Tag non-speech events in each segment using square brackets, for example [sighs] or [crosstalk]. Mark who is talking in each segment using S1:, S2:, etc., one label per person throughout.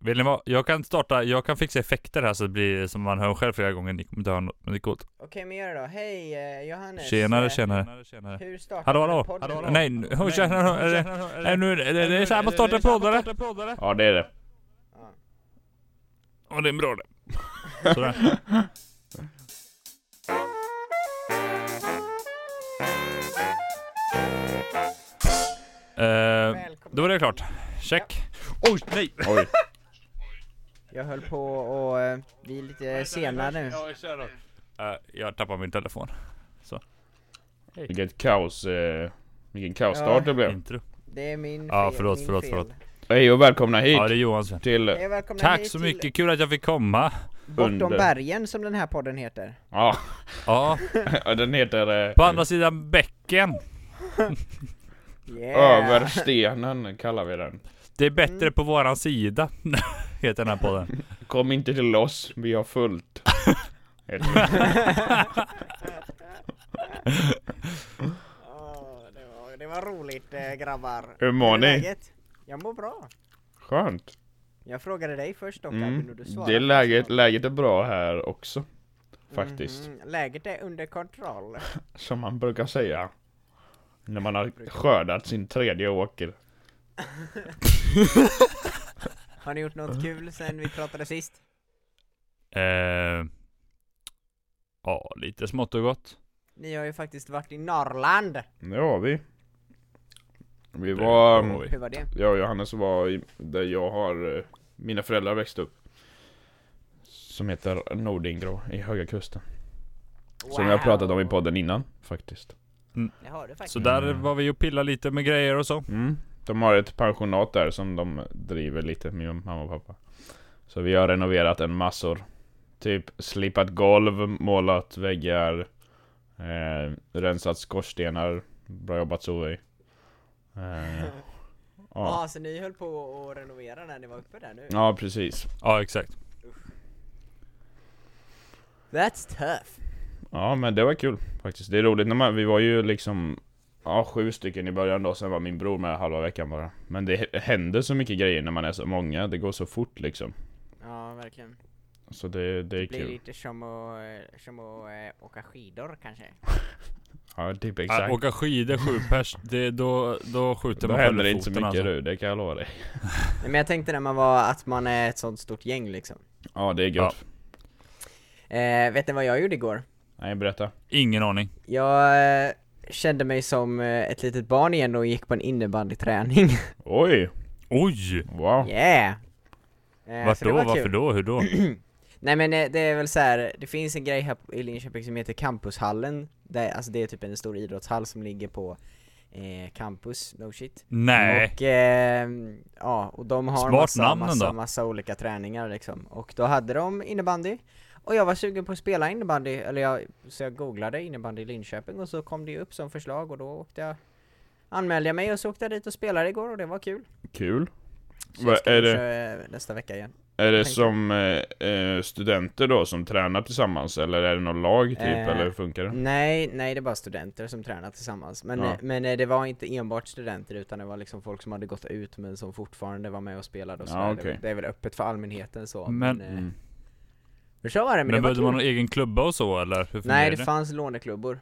S1: Vill ni vad? Jag kan starta, jag kan fixa effekter här så det blir som man hör själv flera gånger, ni kommer inte höra något, men det är coolt.
S2: Okej men gör det då, hej eh, Johannes
S1: Tjenare
S2: Eh,
S1: tjenare. tjenare.
S2: Hur startar
S1: Hallå
S2: man en
S1: hallå,
S2: podd?
S1: hallå, hallå. Nej, nu- hur tjenare, hur- är det- är nu- är det- är det så här man startar poddare?
S3: Ja det är det.
S2: Ja.
S1: Ja det är bra det. [laughs] Sådär. Eh,
S2: Välkommen.
S1: då var det klart. Check. Oj, nej!
S3: Oj.
S2: Jag höll på och eh, vi är lite sena nu
S1: Eh, jag tappar min telefon.
S3: Vilket kaos. Eh, vilken kaosstart
S2: Ja.
S3: det blev.
S1: Intro.
S2: Det är min fel,
S1: Ja, förlåt,
S2: min
S1: förlåt,
S2: fel.
S1: förlåt.
S3: Hej och välkomna hit
S1: Ja, det är Johans fel.
S3: till...
S2: Hej och välkomna
S1: Tack
S2: hit
S1: så
S2: till
S1: mycket, kul att jag fick komma.
S2: Bortom
S3: Under.
S2: bergen som den här podden heter
S3: Ja, [laughs]
S1: Ja,
S3: den heter... Eh,
S1: på andra sidan bäcken.
S2: Yeah!
S3: Över stenen kallar vi den.
S1: Det är bättre
S2: Mm.
S1: på våran sida. [laughs] Heter den här
S3: [laughs]
S1: podden.
S3: Kom inte till oss, vi
S1: [laughs]
S3: har fullt. Heter den.
S2: Åh, Ah, det, var, det var roligt eh, grabbar
S3: Hur mår
S2: Hur är
S3: ni?
S2: läget? Jag mår bra
S3: Skönt.
S2: Jag frågade dig först dock Albin och
S3: Mm.
S2: du svarade
S3: Det är
S2: på
S3: läget,
S2: samma.
S3: läget är bra här också. Faktiskt.
S2: Mhm, Läget är under kontroll [laughs]
S3: Som man brukar säga. När man har skördat sin tredje åker.
S2: Har ni gjort något kul sen vi pratade sist?
S1: Eh, ja, lite smått och gott.
S2: Ni har ju faktiskt varit i Norrland!
S3: Nu har vi. Vi
S1: Det
S3: var...
S1: har vi.
S2: Hur var det?
S3: Jag och Johannes var i, där jag har, eh, mina föräldrar växte upp. Som heter Nordingrå i Höga Kusten. Som jag har pratat om i podden innan faktiskt.
S2: Jag hörde faktiskt
S1: Så där
S3: Mm.
S1: var vi och pillade lite med grejer och så.
S3: Mm. De har ett pensionat där som de driver lite, min mamma och pappa. Så vi har renoverat en massor. Typ slipat golv, målat väggar, eh, rensat skorstenar. Bra jobbat Zoe. Eh, ja.
S2: Ja, så ni höll på att renovera när ni var uppe där nu?
S3: ja, precis.
S1: Ja, exakt.
S2: That's tough!
S3: Ja men det var kul faktiskt, det är roligt när man, vi var ju liksom Ja sju stycken i början då, sen var min bror med halva veckan bara Men det h- händer så mycket grejer när man är så många, det går så fort liksom
S2: Ja, verkligen.
S3: Så det, det är
S2: Blir
S3: kul
S2: lite som att, eh, som att eh, åka skidor kanske?
S3: Ja typ
S1: Att
S3: exakt
S1: åka skidor sju pers, det, då, då skjuter
S3: Då
S1: man
S3: händer
S1: själv
S3: det
S1: i
S3: inte så
S1: foten
S3: mycket
S1: alltså.
S3: du, det kan jag lova dig
S2: Nej men jag tänkte när man var, att man är ett sånt stort gäng liksom.
S3: Ja det är gött
S2: Eh, vet ni vad jag gjorde igår?
S3: Nej berätta
S1: Ingen aning.
S2: Jag eh, kände mig som eh, ett litet barn igen och gick på en innebandyträning.
S3: Oj!
S1: Oj!
S3: Wow!
S2: yeah! Eh,
S1: Vart
S2: så det
S1: då?
S2: var kul.
S1: Varför då? Hur då?
S2: [clears throat] Nej men eh, det är väl så här. det finns en grej här på- i Linköping som heter Campushallen där, Alltså det är typ en stor idrottshall som ligger på eh, campus, no shit
S1: Nej.
S2: Och eh, ja, och de har
S1: Smart
S2: massa,
S1: namn
S2: massa,
S1: ändå.
S2: massa olika träningar liksom Och då hade de innebandy Och jag var sugen på att spela innebandy, eller jag, så jag googlade innebandy i Linköping och så kom det ju upp som förslag och då åkte jag Anmälde jag mig och så åkte jag dit och spelade igår och det var kul
S3: Kul!
S2: Så
S3: Vad
S2: jag ska
S3: är
S2: kanske,
S3: det?
S2: eh, nästa vecka igen
S3: Är det
S2: tänkte-
S3: som eh, eh, studenter då som tränar tillsammans eller är det något lag typ
S2: Eh,
S3: eller hur funkar det?
S2: Nej, nej det är bara studenter som tränar tillsammans. Men,
S3: Ja.
S2: eh, men eh, det var inte enbart studenter utan det var liksom folk som hade gått ut men som fortfarande var med och spelade och så.
S3: Ja,
S2: här. Det-
S3: okej.
S2: Det är väl öppet för allmänheten så.
S1: Men-
S2: Men, eh,
S3: Mm.
S2: men så var det, men,
S1: Men,
S2: det var
S1: behövde
S2: kul.
S1: man
S3: E
S1: någon egen klubba och så eller? Hur fungerar
S2: Nej, det fanns låneklubbor.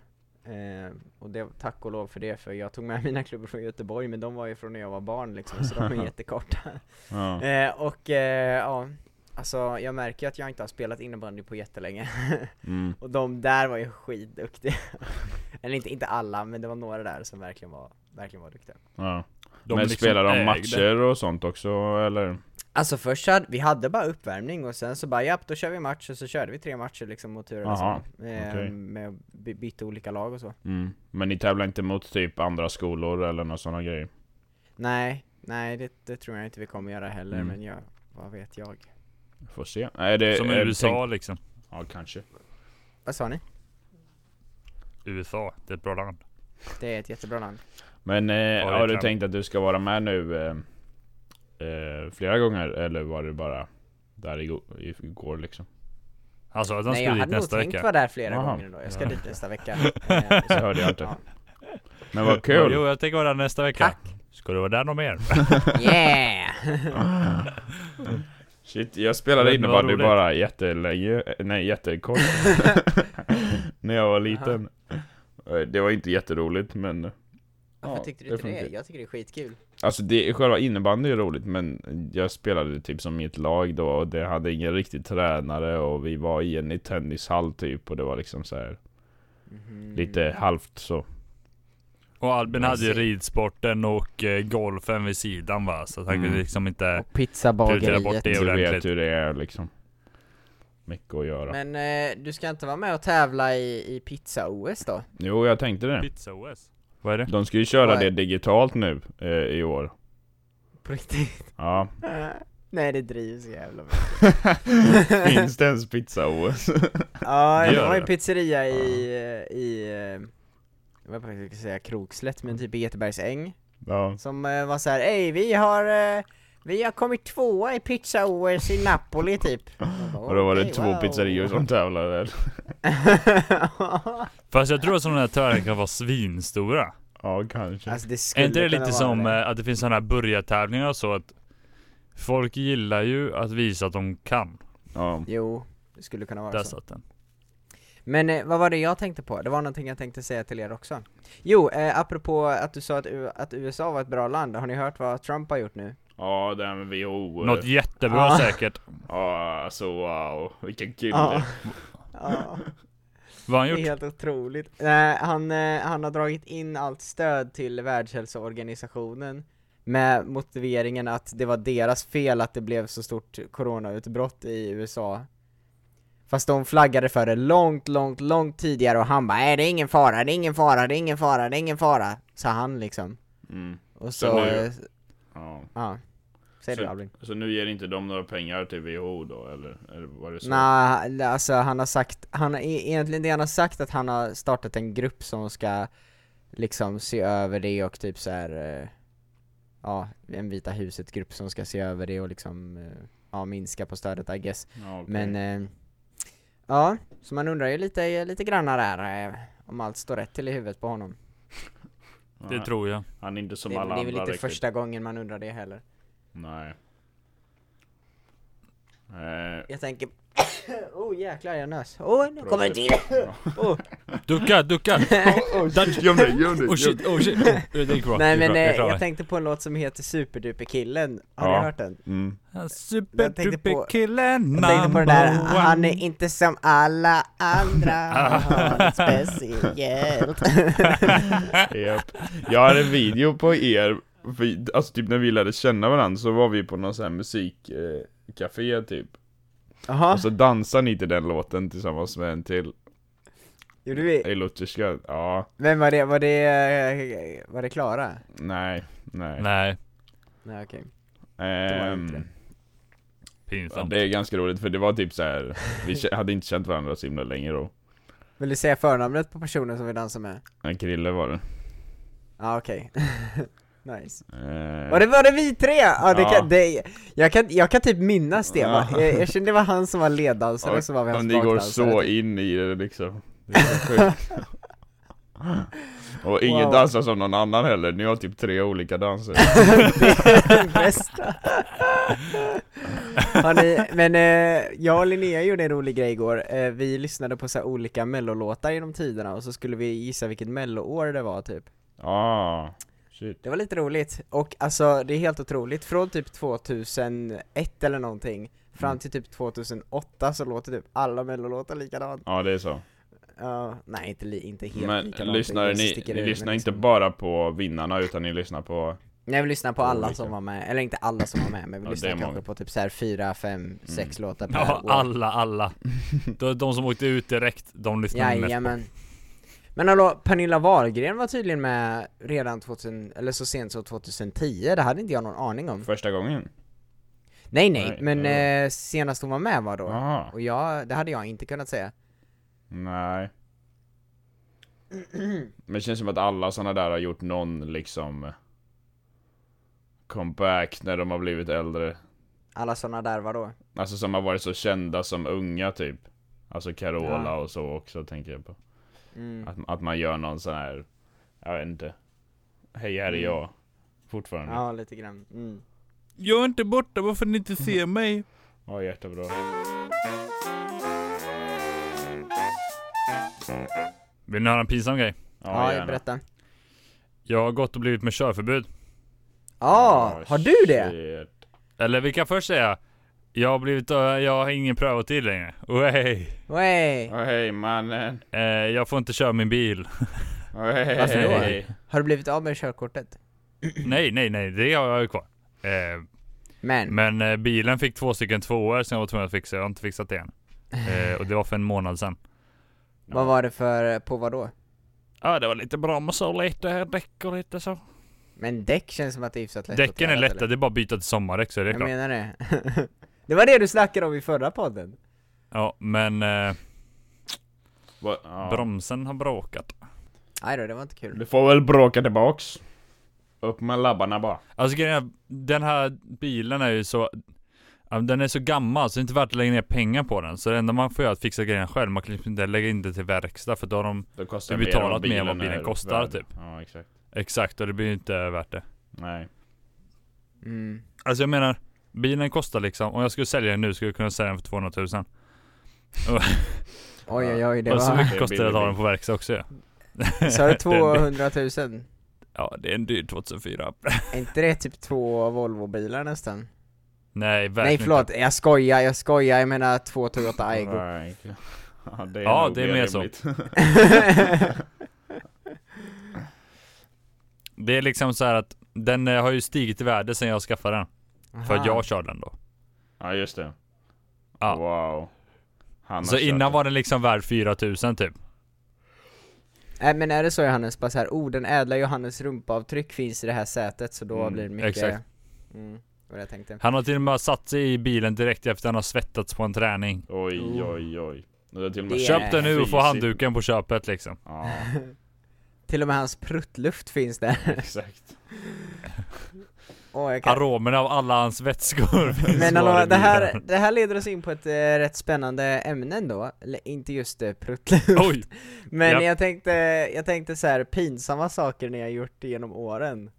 S2: Eh, och det, tack och lov för det, för jag tog med mina klubbor från Göteborg men de var ju från när jag var barn liksom, så
S3: [laughs]
S2: de är jättekorta.
S3: Ja.
S2: Eh, och eh, ja, alltså jag märker ju att jag inte har spelat innebandy på jättelänge. [laughs]
S3: Mm.
S2: Och de där var ju skitduktiga. [laughs] Eller inte, inte alla, men det var några där som verkligen var, verkligen var duktiga.
S3: Ja.
S1: De
S3: men
S1: liksom
S3: spelar de
S1: ägde.
S3: matcher och sånt också eller?
S2: Alltså först så hade, vi hade bara uppvärmning och sen så bara japp, då kör vi match och så körde vi tre matcher liksom mot turades
S3: Aha,
S2: om. Eh,
S3: okej.
S2: Med att by- byta olika lag och så.
S3: Mm. Men ni tävlar inte mot typ andra skolor eller några sådana grejer?
S2: Nej, nej det, det tror jag inte vi kommer göra heller
S3: Mm.
S2: men jag, vad vet jag?
S3: Får se. Är det,
S1: Som i
S3: är det
S1: USA
S3: tänkt-
S1: liksom.
S3: Ja kanske.
S2: Vad sa ni?
S1: USA, det är ett bra land.
S2: Det är ett jättebra namn.
S3: Men eh,
S1: det
S3: har du
S1: kan-
S3: tänkt att du ska vara med nu eh, eh, flera gånger eller var det bara där igo- igår liksom?
S1: Alltså att han
S2: Nej jag
S1: skulle dit
S2: hade nog
S1: nästa
S2: tänkt
S1: vecka.
S2: vara där flera
S3: Aha.
S2: gånger ändå, jag ska dit nästa
S3: [laughs]
S2: vecka. Eh,
S3: Det hörde jag inte.
S2: ja. [laughs]
S1: [laughs]
S3: Men vad
S1: Ja,
S3: kul!
S1: Jo, jag tänker vara där nästa vecka.
S2: Tack.
S1: Ska du vara där någon mer?
S2: Yeah!
S3: Shit, jag spelade
S1: Men det var
S3: innebandy
S1: roligt.
S3: bara jättelänge, eh,
S1: [laughs]
S3: nej jättekort När jag var liten Eh, Det var inte jätteroligt men
S2: Varför
S3: Ja,
S2: tyckte du
S3: det
S2: inte det?
S3: funkar.
S2: Jag tycker det är skitkul.
S3: Alltså det, själva innebandy är roligt men jag spelade typ som i ett lag då och det hade ingen riktig tränare och vi var i en tennishall typ och det var liksom så här
S2: Mm. Mhm.
S3: lite halvt så
S1: Och Albin
S2: Jag
S1: hade ju
S2: ser.
S1: ridsporten och eh, golfen vid sidan va, så att han
S3: Mm.
S1: kunde liksom inte...
S2: Och
S1: Prioritera bort det.
S2: pizzabageriet.
S1: är
S3: Du
S1: ordentligt.
S3: vet hur det är liksom Mycket att göra
S2: Men eh, du ska inte vara med och tävla i, i pizza-OS då?
S3: Jo jag tänkte
S2: Mm.
S3: det
S1: Pizza-OS? Vad är det?
S3: De ska ju köra
S2: Nej.
S3: det digitalt nu eh, i år
S2: På riktigt?
S3: Ja
S2: [laughs] Nej det drivs så jävla [laughs] mycket.
S3: Finns det ens pizza-OS?
S2: Ja,
S1: Det
S2: det
S1: gör
S2: var ju
S1: det.
S2: pizzeria i, eh, i, eh, jag vet inte vad jag ska säga Krokslätt,
S1: Mm.
S2: men typ i Göteborgsäng
S3: [laughs] ja.
S2: Som eh, var såhär, ey vi har, eh, vi har kommit tvåa i pizza-OS i
S1: [laughs]
S2: Napoli typ [laughs] Jag bara,
S3: Och då var det
S2: "Okej,
S3: två
S2: wow."
S3: pizzerior som tävlade där.
S2: Alltså,
S1: Fast jag tror att sådana här tävlingar kan vara svinstora.
S3: Ja, kanske.
S2: Alltså det
S1: Är
S2: skulle
S1: inte det
S2: kunna
S1: lite
S2: vara
S1: som
S2: det.
S1: eh, att det finns sådana här burgartävlingar och så att folk gillar ju att visa att de kan.
S3: ja.
S2: Jo, det skulle kunna vara
S1: Där
S2: så
S1: satt den.
S2: Men eh, vad var det jag tänkte på? Det var någonting jag tänkte säga till er också Jo, eh, apropå att du sa att, U- att USA var ett bra land, har ni hört vad Trump har gjort nu?
S3: ja, det här med WHO.
S1: Något jättebra
S2: Ah.
S1: säkert.
S3: Ja, alltså wow. Vilken
S2: [laughs]
S3: kille.
S2: Ja. Ja.
S1: Vad har han
S2: Det är
S1: gjort?
S2: helt otroligt. Nej, han, eh, han har dragit in allt stöd till Världshälsoorganisationen med motiveringen att det var deras fel att det blev så stort coronautbrott i USA. Fast de flaggade för det långt, långt, långt tidigare och han bara nej det är ingen fara, det är ingen fara, det är ingen fara, det är ingen fara, sa han liksom.
S3: Mm.
S2: Och så,
S3: Så nu-
S2: eh,
S3: Ja.
S2: ja. Säg du Albin.
S3: Så nu ger inte de några pengar till WHO då, eller? eller var det så?
S2: Nej, alltså han har sagt, han har, e- egentligen det han har sagt att han har startat en grupp som ska liksom se över det och typ så här. eh, ja, en Vita huset grupp som ska se över det och liksom, eh, ja minska på stödet I guess.
S3: Ja, okej.
S2: Men, eh, ja, så man undrar ju lite, lite granna där eh, om allt står rätt till i huvudet på honom.
S1: Det tror jag.
S3: Han är inte som
S2: det,
S3: alla
S2: det är väl
S3: andra
S2: inte
S3: riktigt.
S2: första gången man undrar det heller.
S3: Nej. Eh,
S2: Jag tänker, [coughs] oh jäklar jag nös. Åh, nu kommer det till! [coughs] Oh. Åh.
S1: Ducka,
S2: [laughs] Oh,
S1: ducka! Där-
S3: Göm dig, göm dig!
S1: Oh shit, oh shit! Oh, det gick bra.
S2: Nej
S1: det gick
S2: men
S1: bra.
S2: eh,
S1: Jag
S2: jag,
S1: klarar mig.
S2: tänkte på en låt som heter Superduper killen, har
S3: Ja.
S2: ni hört den?
S3: Mm.
S2: jag tänkte på-
S1: Superduperkillen
S2: Jag tänkte på den där,
S1: number one.
S2: han är inte som alla andra, han är speciellt
S3: Japp. Jag har en video på er, vi- alltså typ när vi lärde känna varandra så var vi på någon sån här musikcafé eh, café typ
S2: Jaha,
S3: Och så dansade ni till den låten tillsammans med en till
S2: gjorde vi?
S3: Elotiska, ja,
S2: Vem var det? Var det, eh, var det Klara?
S3: nej, nej
S1: Nej,
S2: Nej okej var
S3: Ehm,
S2: inte det.
S3: ja,
S1: pinsamt.
S3: Det är ganska roligt för det var typ
S2: [laughs]
S3: så här. vi kä- hade inte känt varandra så himla länge då
S2: Vill du säga förnamnet på personen som vi dansar med?
S3: En Krille var det
S2: Ja okej [laughs] Nice.
S3: Ehm,
S2: Var det, var det vi tre? Ja, det
S3: Ja.
S2: Kan, det, jag, kan, jag kan typ minnas det va?
S3: Ja.
S2: Jag, jag kände det var han som var leddansare
S3: och-
S2: och så var vi
S3: och
S2: hans
S3: Ni går
S2: bakdansare,
S3: så
S2: typ.
S3: in i det liksom Det är
S2: [laughs]
S3: så sjukt. Och ingen
S2: Wow.
S3: dansar som någon annan heller, ni har typ tre olika danser
S2: [laughs] Den bästa. Har ni, men eh, jag och Linnea gjorde en rolig grej igår, eh, vi lyssnade på så här olika mellolåtar genom tiderna och så skulle vi gissa vilket melloår det var typ
S3: Ah, shit.
S2: Det var lite roligt, och alltså det är helt otroligt, från typ 2001 eller någonting Fram
S3: Mm.
S2: till typ 2008 så låter typ alla mellolåtar likadant
S3: Ja det är så.
S2: Ja, Nej inte, li, inte helt
S3: Men
S2: likadant
S3: lyssnar
S2: det
S3: ni,
S2: sticker
S3: ni
S2: ut,
S3: lyssnar
S2: men
S3: inte
S2: liksom-
S3: bara på vinnarna utan ni lyssnar på...
S2: Nej vi lyssnar på
S3: Olika.
S2: alla som var med, eller inte alla som var med men vi
S3: Ja,
S2: lyssnar
S3: det är
S2: kanske
S3: många.
S2: på typ såhär 4, 5, 6 låtar per
S1: Ja,
S2: år
S1: alla,
S2: [laughs]
S1: alla. De, de som åkte ut direkt, de lyssnade mest på.
S2: Jajamän Men hallå, Pernilla Wahlgren var tydligen med redan 2000, eller så sent som 2010, det hade inte jag någon aning om
S3: Första gången?
S2: Nej nej,
S3: Nej,
S2: men
S3: nej.
S2: eh, senast hon var med var då
S3: Jaha.
S2: Och jag, det hade jag inte kunnat säga [clears throat]
S3: Nej. Men det känns som att alla såna där har gjort någon liksom... Comeback när de har blivit äldre.
S2: Alla såna där var då
S3: Alltså som har varit så kända som unga typ. Alltså Carola
S2: Ja.
S3: och så också tänker jag på.
S2: mm.
S3: Att, att man gör någon sån här... Jag vet inte. Hej här är
S2: Mm.
S3: jag. Fortfarande.
S2: Ja lite grann, mm.
S1: Jag är inte borta, varför ni inte ser mig?
S3: Ja, jättebra.
S1: Vill ni höra en pinsam grej?
S2: Ja,
S3: gärna.
S2: berätta.
S1: Jag har gått och blivit med körförbud.
S2: Ja,
S3: Ja,
S2: Ah, har du det?
S3: shit. Eller
S1: Eller vi kan först säga, jag har blivit, eh, jag har ingen prövotid längre. Way.
S2: Wey.
S3: Åh, hej mannen.
S1: Eh, jag får inte köra min
S2: [clears throat]
S1: bil.
S3: Åh, hej.
S2: Varför då? Har du blivit av med körkortet?
S1: nej, nej, nej, det har jag ju kvar. Eh,
S2: Men,
S1: men eh, bilen fick två stycken tvåor som jag var tvungen att fixa. Jag har inte fixat det än. Eh, och det var för en månad sedan.
S2: vad var det för, på vad då?
S1: Ja, det var lite broms och lite däck och lite så.
S2: Men däck känns som att det är hyfsat lätt
S1: Däcken är
S2: åtgärdat,
S1: lätta,
S2: eller?
S1: det är bara att byta till sommardäck så är det
S2: Jag
S1: klart.
S2: menar det. [laughs] det var det du snackade om i förra podden.
S1: Ja, men eh,
S3: Va- ja.
S1: bromsen har bråkat.
S2: Nej då, det var inte kul.
S3: Du får väl bråka tillbaks. Upp med labbarna bara.
S1: Alltså grejen är, den här bilen är ju så ja, den är så gammal så det är inte värt att lägga ner pengar på den. Så det enda man får göra är att fixa grejerna själv. Man kan liksom inte lägga in det till verkstad för då har de
S3: Det kostar
S1: Du
S3: mer
S1: betalat
S3: vad
S1: mer än vad
S3: bilen
S1: bilen
S3: är
S1: kostar,
S3: värd.
S1: typ.
S3: Ja, exakt.
S1: exakt och det blir ju inte värt det.
S3: Nej.
S2: Mm.
S1: Alltså jag menar, bilen kostar liksom, om jag skulle sälja den nu skulle jag kunna sälja den för 200 000.
S2: Oj oj oj, det
S1: och så
S2: var...
S1: mycket kostar det att ha den på verkstad också ju.
S2: [laughs]
S1: [laughs]
S2: Sa
S1: Det
S2: du
S1: är-
S2: 200 000?
S1: Ja, det är en dyr 2004.
S2: Är inte det typ två Volvo-bilar nästan?
S1: Nej, verkligen
S2: Nej förlåt,
S1: Inte.
S2: jag skojar, jag skojar, jag menar två Toyota Aygo
S3: Nej. Ja, det
S1: [laughs]
S3: är,
S1: Ja,
S3: nog
S1: det är mer så.
S3: rimligt.
S1: Det är liksom så här att den eh, har ju stigit i värde sedan jag skaffade den. [laughs] För
S2: Ah.
S1: att jag kör den då.
S3: [laughs] ja, just det.
S1: Ja.
S3: Wow. Han har
S1: så
S3: kört
S1: innan
S3: det.
S1: var den liksom värd 4000 typ.
S2: Nej men är det så Johannes, bara så här, oh den ädla Johannes rumpavtryck finns i det här sätet så då
S3: Mm,
S2: blir det mycket
S1: exakt.
S2: Mm, det var det jag tänkte
S1: Han har till och med satt sig i bilen direkt efter att han har svettats på en träning.
S3: Oj,
S2: Oh.
S3: oj, oj. Det är till och
S2: Det
S3: med
S2: är-
S1: Köp den nu och få
S3: Fysiskt.
S1: handduken på köpet liksom.
S3: Ja,
S2: Till och med hans pruttluft finns där [laughs]
S3: exakt.
S2: Åh jag kan...
S1: Aromerna av alla hans vätskor [laughs] finns
S2: Men
S1: kvar i
S2: hallå, det här,
S1: bilen.
S2: det här leder oss in på ett eh, rätt spännande ämne ändå, eller inte just eh, pruttluft
S1: Oj!
S2: [laughs] Men
S1: ja.
S2: jag tänkte, jag tänkte så här pinsamma saker ni har gjort genom åren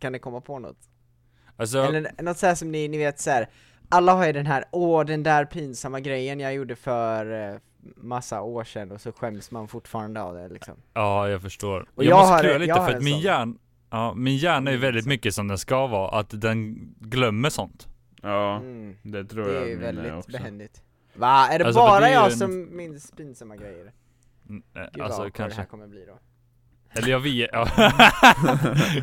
S2: Kan ni komma på något?
S1: Alltså,
S2: Eller något såhär som ni, ni vet såhär, alla har ju den här, åh den där pinsamma grejen jag gjorde för eh, massa år sedan och så skäms man fortfarande av det liksom.
S1: ja jag förstår.
S2: Och
S1: Jag,
S2: jag
S1: måste
S2: har-
S1: klura lite
S2: jag har
S1: för att
S2: en
S1: min
S2: sån.
S1: hjärna, ja, min hjärna är
S2: Mm,
S1: väldigt
S2: så.
S1: mycket som den ska vara, att den glömmer sått.
S3: Ja,
S2: Mm.
S3: det
S2: Det
S3: tror jag
S2: är ju
S3: min
S2: väldigt
S3: också.
S2: behändigt. Va? Är det
S1: eh, Alltså, för
S2: bara
S1: det är ju
S2: jag
S1: en-
S2: som minns pinsamma grejer?
S1: Mm, eh,
S2: Gud vad
S1: Alltså
S2: awkward det här
S1: kanske.
S2: kommer bli då.
S1: Eller jag vet.
S2: [laughs]
S1: Ja.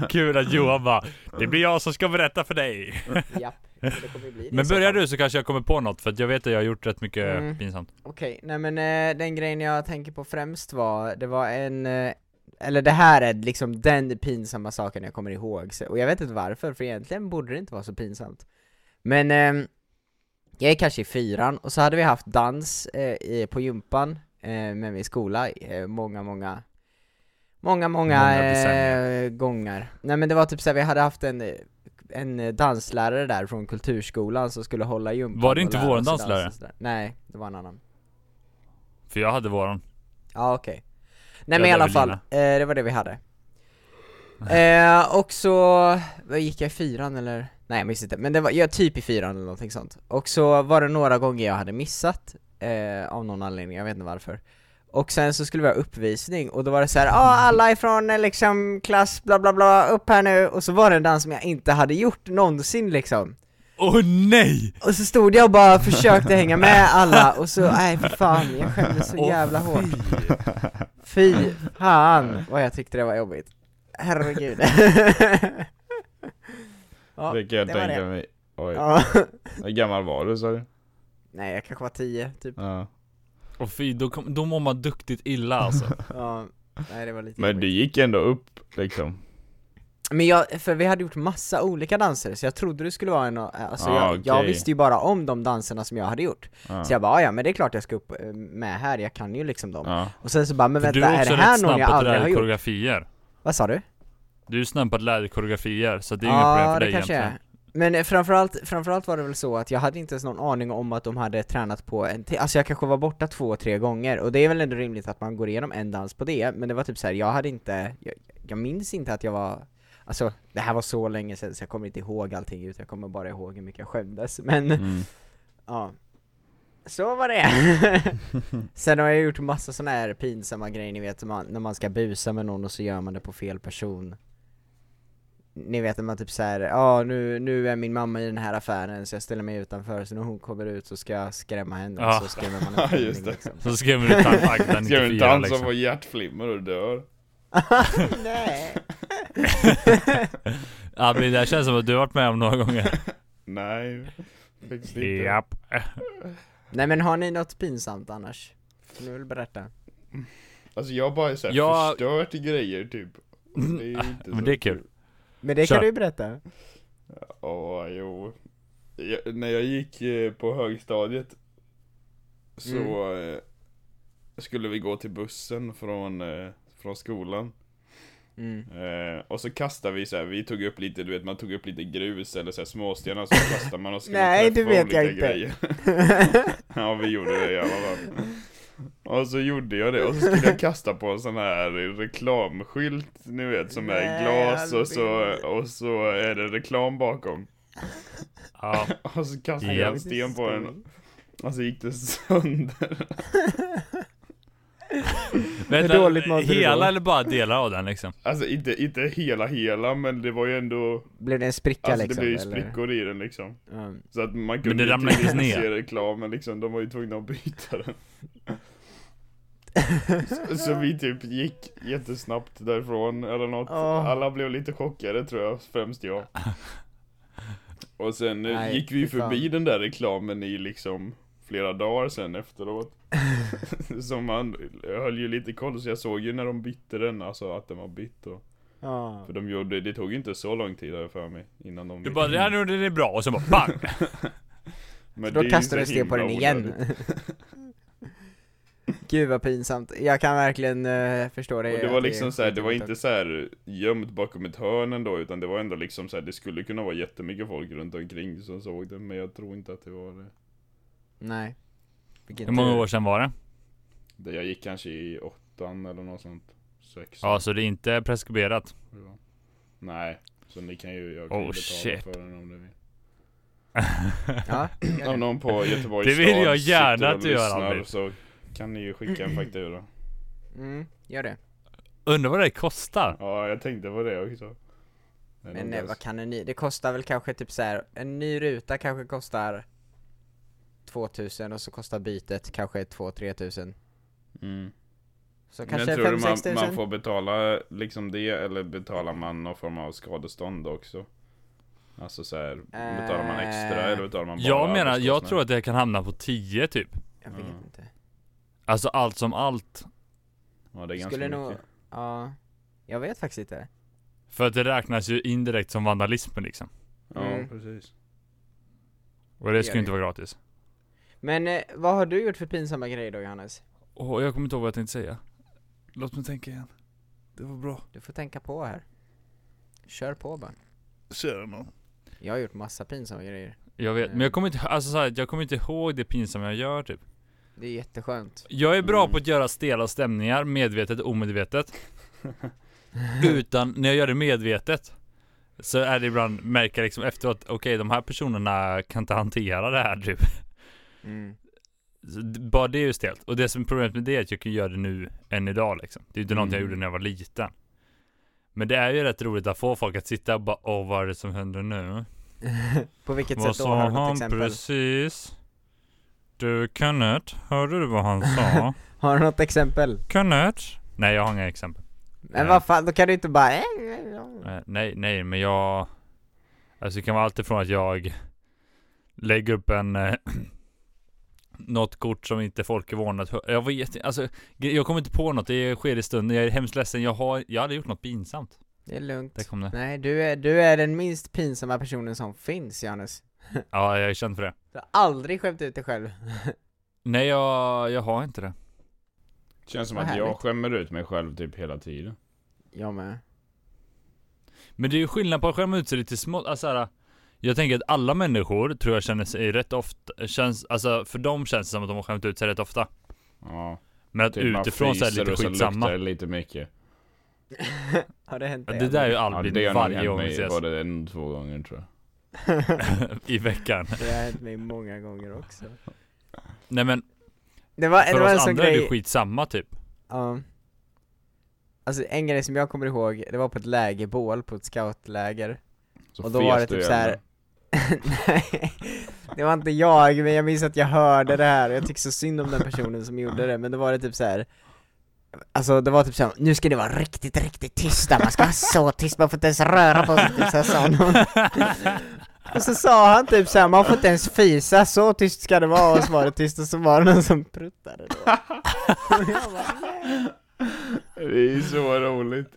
S1: Kul att Johan bara, det blir jag som ska berätta för dig.
S2: Japp, det kommer ju bli det
S1: [laughs]
S2: i
S1: Men
S2: så
S1: börjar
S2: fall.
S1: du så kanske jag kommer på något, för att jag vet att jag har gjort rätt mycket
S2: Mm.
S1: pinsamt.
S2: Okej, nej men eh, den grejen jag tänker på främst var, det var en, eh, eller det här är liksom den pinsamma saken jag kommer ihåg, så, och jag vet inte varför, för egentligen borde det inte vara så pinsamt. Men ehm, jag är kanske i fyran, och så hade vi haft dans eh, i, på gympan eh, med min skola eh, många, många Många, många,
S1: Många
S2: eh,
S1: decennier.
S2: gånger. Nej men det var typ såhär, vi hade haft en, eh, en eh, danslärare där från kulturskolan som skulle hålla i gympan
S1: Var det
S2: och
S1: inte
S2: lära
S1: våran
S2: oss dansa
S1: danslärare?
S2: och sådär. Nej, det var en annan.
S1: För jag hade våran.
S2: Ja okej. Nej
S1: Ja,
S2: men i
S1: det är
S2: alla
S1: väl
S2: fall, eh,
S1: Lina.
S2: det var det vi hade. eh, och så, vad gick jag i fyran eller? Nej jag minns inte, men det var, jag typ i fyran eller någonting sånt. Och så var det några gånger jag hade missat, eh, av någon anledning, jag vet inte varför. Och sen så skulle vi ha uppvisning och då var det så här, ah, alla ifrån eh, liksom klass bla bla bla, upp här nu. Och så var det en dans som jag inte hade gjort någonsin liksom.
S1: Åh nej!
S2: Och så stod jag och bara försökte hänga med alla och så, nej för fan, jag skämdes så
S1: Åh,
S2: jävla hårt Fy fan vad jag tyckte det var jobbigt Herregud Ja,
S3: det kan jag
S2: det var
S3: tänka
S2: det.
S3: mig. Oj.
S2: ja.
S3: Hur gammal var du sa du?
S2: Nej jag kanske var tio, typ
S3: Ja.
S1: Och fy, då, kom, då mår man duktigt illa
S2: [laughs]
S1: alltså.
S2: ja. Nej det var lite
S3: Men du
S2: jobbigt.
S3: gick ändå upp liksom.
S2: Men jag, för vi hade gjort massa olika danser så jag trodde det skulle vara en, alltså
S3: Ah,
S2: jag, jag
S3: okej.
S2: visste ju bara om de danserna som jag hade gjort
S3: Ja.
S2: Så jag bara, "Ah, ja men det är klart jag ska upp eh, med här, jag kan ju liksom dem
S3: Ja.
S2: Och sen så bara, men
S1: För
S2: vänta, är det här någon jag
S1: på att
S2: aldrig
S1: lära
S2: har
S1: dig
S2: gjort?
S1: koreografier.
S2: Vad sa du?
S1: Du är snabb på att lära dig koreografier, så det är inget problem för dig
S2: kanske
S1: egentligen.
S2: är. Men eh, framförallt, framförallt var det väl så att jag hade inte ens någon aning om att de hade tränat på en till, alltså jag kanske var borta två, tre gånger och det är väl ändå rimligt att man går igenom en dans på det, men det var typ så här, jag hade inte, jag, jag minns inte att jag var Alltså det här var så länge sedan så jag kommer inte ihåg allting utan jag kommer bara ihåg hur mycket jag skämdes men
S3: Mm.
S2: ja Så var det!
S3: [laughs]
S2: Sen har jag gjort massa såna här pinsamma grejer ni vet när man, när man ska busa med någon och så gör man det på fel person Ni vet när man typ såhär, ja nu, nu är min mamma i den här affären så jag ställer mig utanför så när hon kommer ut så ska jag skrämma henne
S1: Ja.
S2: så skrämmer man
S3: [laughs] Ja,
S2: en tidning,
S3: just det.
S2: liksom. [laughs]
S1: Så skrämmer du tant Agda
S3: Ska vi inte
S1: 94
S3: han som får
S1: liksom.
S3: hjärtflimmer och dör?
S2: Nej!
S1: Ja, men det här känns som att du har varit med om några [laughs] gånger.
S3: [laughs] Nej, faktiskt inte.
S1: Japp.
S2: Nej men har ni något pinsamt annars? Får ni väl berätta?
S3: Alltså jag har bara så här
S1: Jag-
S3: förstört grejer typ. Det
S2: [laughs]
S3: är ju inte
S1: Men
S3: så
S1: det är kul.
S2: Men det
S1: Kör.
S2: kan du ju berätta
S3: Ja, jo. Jag, när jag gick eh, på högstadiet så
S2: Mm.
S3: eh, skulle vi gå till bussen från, eh, från skolan.
S2: [laughs] mm.
S3: Eh, och så kastade vi så här, vi tog upp lite, du vet man tog upp lite grus eller så här småstenar så kastade man och
S2: [laughs]
S3: skulle
S2: Nej,
S3: träffa
S2: det vet
S3: olika
S2: jag inte.
S3: grejer. ja vi gjorde det i
S2: [laughs]
S3: alla fall. Och så gjorde jag det och så skulle jag kasta på en sån här reklamskylt, ni vet som är i
S2: Nej,
S3: glas och så,
S2: Albin.
S3: och så är det reklam bakom.
S2: [laughs]
S1: Ja.
S3: Och så kastade
S1: Ja.
S3: jag en sten på den och så gick det sönder.
S1: Vänta,
S2: dåligt mådde du då?
S1: hela eller bara delar av den liksom?
S3: Alltså inte, inte hela hela men det var ju ändå,
S2: Blev det en spricka
S3: alltså det
S2: liksom?
S3: blev ju
S2: eller?
S3: sprickor i den liksom.
S2: Mm.
S3: Så att man
S1: det
S3: kunde
S1: ramlade inte
S3: tydligen
S1: ner.
S3: se reklamen liksom, de var ju tvungna att byta
S2: [laughs]
S3: den. Så, så vi typ gick jättesnabbt därifrån eller något.
S2: Åh.
S3: Alla blev lite chockade tror jag,
S1: [laughs]
S3: främst jag. Och sen eh,
S2: Nej,
S3: gick vi ju
S2: fy fan.
S3: förbi den där reklamen i liksom flera dagar
S2: [laughs]
S3: sen efteråt. så man höll ju lite koll, så jag såg ju när de bytte den, alltså att den var bytt och,
S2: Ja.
S3: För de gjorde, det tog ju inte så lång tid har jag för mig innan de
S1: Du bara, det här nu det är bra, och så bara
S2: [laughs]
S1: bang!
S3: [laughs] Men det är
S2: Då
S3: ju
S2: kastar du
S3: så
S2: sten på
S3: himla
S2: den igen
S3: onödigt.
S2: [laughs] Gud vad pinsamt, jag kan verkligen eh, förstå det
S3: Och det
S2: att
S3: var liksom såhär, det var
S2: skitjobbigt
S3: inte såhär gömt bakom ett hörn ändå, utan det var ändå liksom såhär, det skulle kunna vara jättemycket folk runt omkring som såg det, men jag tror inte att det var det.
S2: att- Nej Vilken
S1: Hur många
S2: tur.
S1: år sedan var det?
S3: det jag gick kanske i åttan eller något sånt. Sexan.
S1: Ja, så det är inte [laughs] preskriberat.
S3: tror jag. Nej, så ni kan ju, jag
S1: Oh,
S3: kan ju betala
S1: shit.
S3: för den om ni vill. [clears throat]
S2: Ja, gör
S3: Om
S2: det.
S3: någon på Göteborgs
S1: [laughs] Det vill
S3: stad
S1: jag gärna
S3: sitter och
S1: att du gör,
S3: lyssnar,
S1: Albin.
S3: Så kan ni ju skicka en faktura.
S2: Mm, gör det
S1: Undrar vad det kostar?
S3: Ja, jag tänkte på det också. Det är nog
S2: Men eh, vad
S3: ganska-
S2: kan en ny, det kostar väl kanske typ så här. en ny ruta kanske kostar 2000 och så kostar bytet kanske 2-3 tusen
S3: mm.
S2: Så
S3: Men
S2: kanske
S3: tror
S2: 5-6
S3: du man, man
S2: tusen?
S3: får betala liksom det eller betalar man någon form av skadestånd också? Alltså så här, betalar man extra
S2: Eh,
S3: eller betalar man bara
S1: Jag menar, jag
S3: arbetskostnad?
S1: tror att det kan hamna på 10 typ.
S2: Jag vet
S3: Ja.
S2: inte
S1: Alltså allt som allt.
S3: Ja, det är ganska
S2: Skulle
S3: mycket.
S2: nog, ja Jag vet faktiskt inte
S1: För att det räknas ju indirekt som vandalism liksom.
S3: Ja,
S2: Mm.
S3: precis.
S1: Och det ska ju inte vara gratis.
S2: Men eh, vad har du gjort för pinsamma grejer då Johannes?
S1: Åh, jag kommer inte ihåg vad jag tänkte säga. Låt mig tänka igen. Det var bra.
S2: Du får tänka på här. Kör på bara.
S1: Tjena någon.
S2: Jag har gjort massa pinsamma grejer.
S1: Jag vet, men jag kommer inte, alltså så här, jag kommer inte ihåg det pinsamma jag gör typ.
S2: Det är jätteskönt.
S1: Jag är bra
S3: Mm.
S1: på att göra stela stämningar, medvetet och omedvetet.
S2: [clears throat]
S1: Utan, när jag gör det medvetet, så är det ibland, märker jag liksom efteråt, okej de här personerna kan inte hantera det här typ.
S2: [laughs] Mm. [laughs]
S1: Så d- Bara det är ju stelt. Och det som är problemet med det är att jag kan göra det nu, än idag liksom. Det är ju inte någonting jag
S3: Mm.
S1: gjorde när jag var liten. Men det är ju rätt roligt att få folk att sitta och bara, åh vad är det som händer nu?
S2: på vilket
S1: Vad
S2: sätt då?
S1: sa
S2: Har du något
S1: han
S2: exempel?
S1: precis? Du Kenneth, hörde du vad han
S2: [laughs]
S1: sa?
S2: Har du något exempel?
S1: Kenneth? Nej jag har inga exempel.
S2: Men
S1: Nej.
S2: vad fan, då kan du inte bara...
S1: Eh, Nej, nej, men jag... Alltså det kan vara allt ifrån att jag lägger upp en... Eh, [clears throat] något kort som inte folk är vana att höra. Jag vet inte, alltså jag kommer inte på något. Det sker i stunden. Jag är hemskt ledsen. Jag har, jag hade gjort något pinsamt.
S2: Det är
S1: Där
S2: lugnt.
S1: kom det.
S2: Nej, du är, du är den minst pinsamma personen som finns, Johannes.
S1: Ja, jag är känd för det.
S2: Du har aldrig skämt ut dig själv. [laughs]
S1: Nej, jag, jag har inte det.
S3: Känns som
S2: Vad
S3: att jag
S2: härligt.
S3: skämmer ut mig själv typ hela tiden.
S2: Jag med. [laughs]
S1: Men det är ju skillnad på att skämma ut sig lite smått. Alltså så här, jag tänker att alla människor tror jag känner sig rätt ofta, känns, alltså för dem känns det som att de har skämt ut sig rätt ofta.
S3: Ja,
S1: Men att
S3: typ man
S1: utifrån så är det
S3: fryser
S1: lite
S3: och så luktar
S1: skitsamma.
S3: det lite mycket.
S2: Har det hänt
S1: Det där är ju Albin
S3: det har nog
S1: varje
S3: hänt
S1: gång vi
S3: mig
S1: ses.
S3: Både en och två gånger tror jag.
S2: [laughs]
S1: [laughs] I veckan.
S2: Det har hänt mig många gånger också.
S1: Nej men
S2: Det var, det
S1: för
S2: var en
S1: oss
S2: sån
S1: andra är
S2: grej.
S1: det skitsamma typ.
S2: Ja. Alltså en grej som jag kommer ihåg, det var på ett lägerbål på ett scoutläger. [laughs]
S3: Så
S2: Och då var
S3: fes
S2: det
S3: du
S2: typ
S3: i
S2: så här-
S3: henne.
S2: Nej, det var inte jag, men jag minns att jag hörde det här och jag tyckte så synd om den personen som gjorde det, men då var det typ så här. Alltså det var typ såhär, nu ska det vara riktigt, riktigt tysta, man ska vara så tyst, man får inte ens röra på sig, typ så här, sa någon.
S1: [laughs]
S2: Och så sa han typ såhär, man får inte ens fisa, så tyst ska det vara, och så var det tyst, och så var det någon som pruttade då. Och jag bara, nej.
S3: [laughs] Det är så roligt.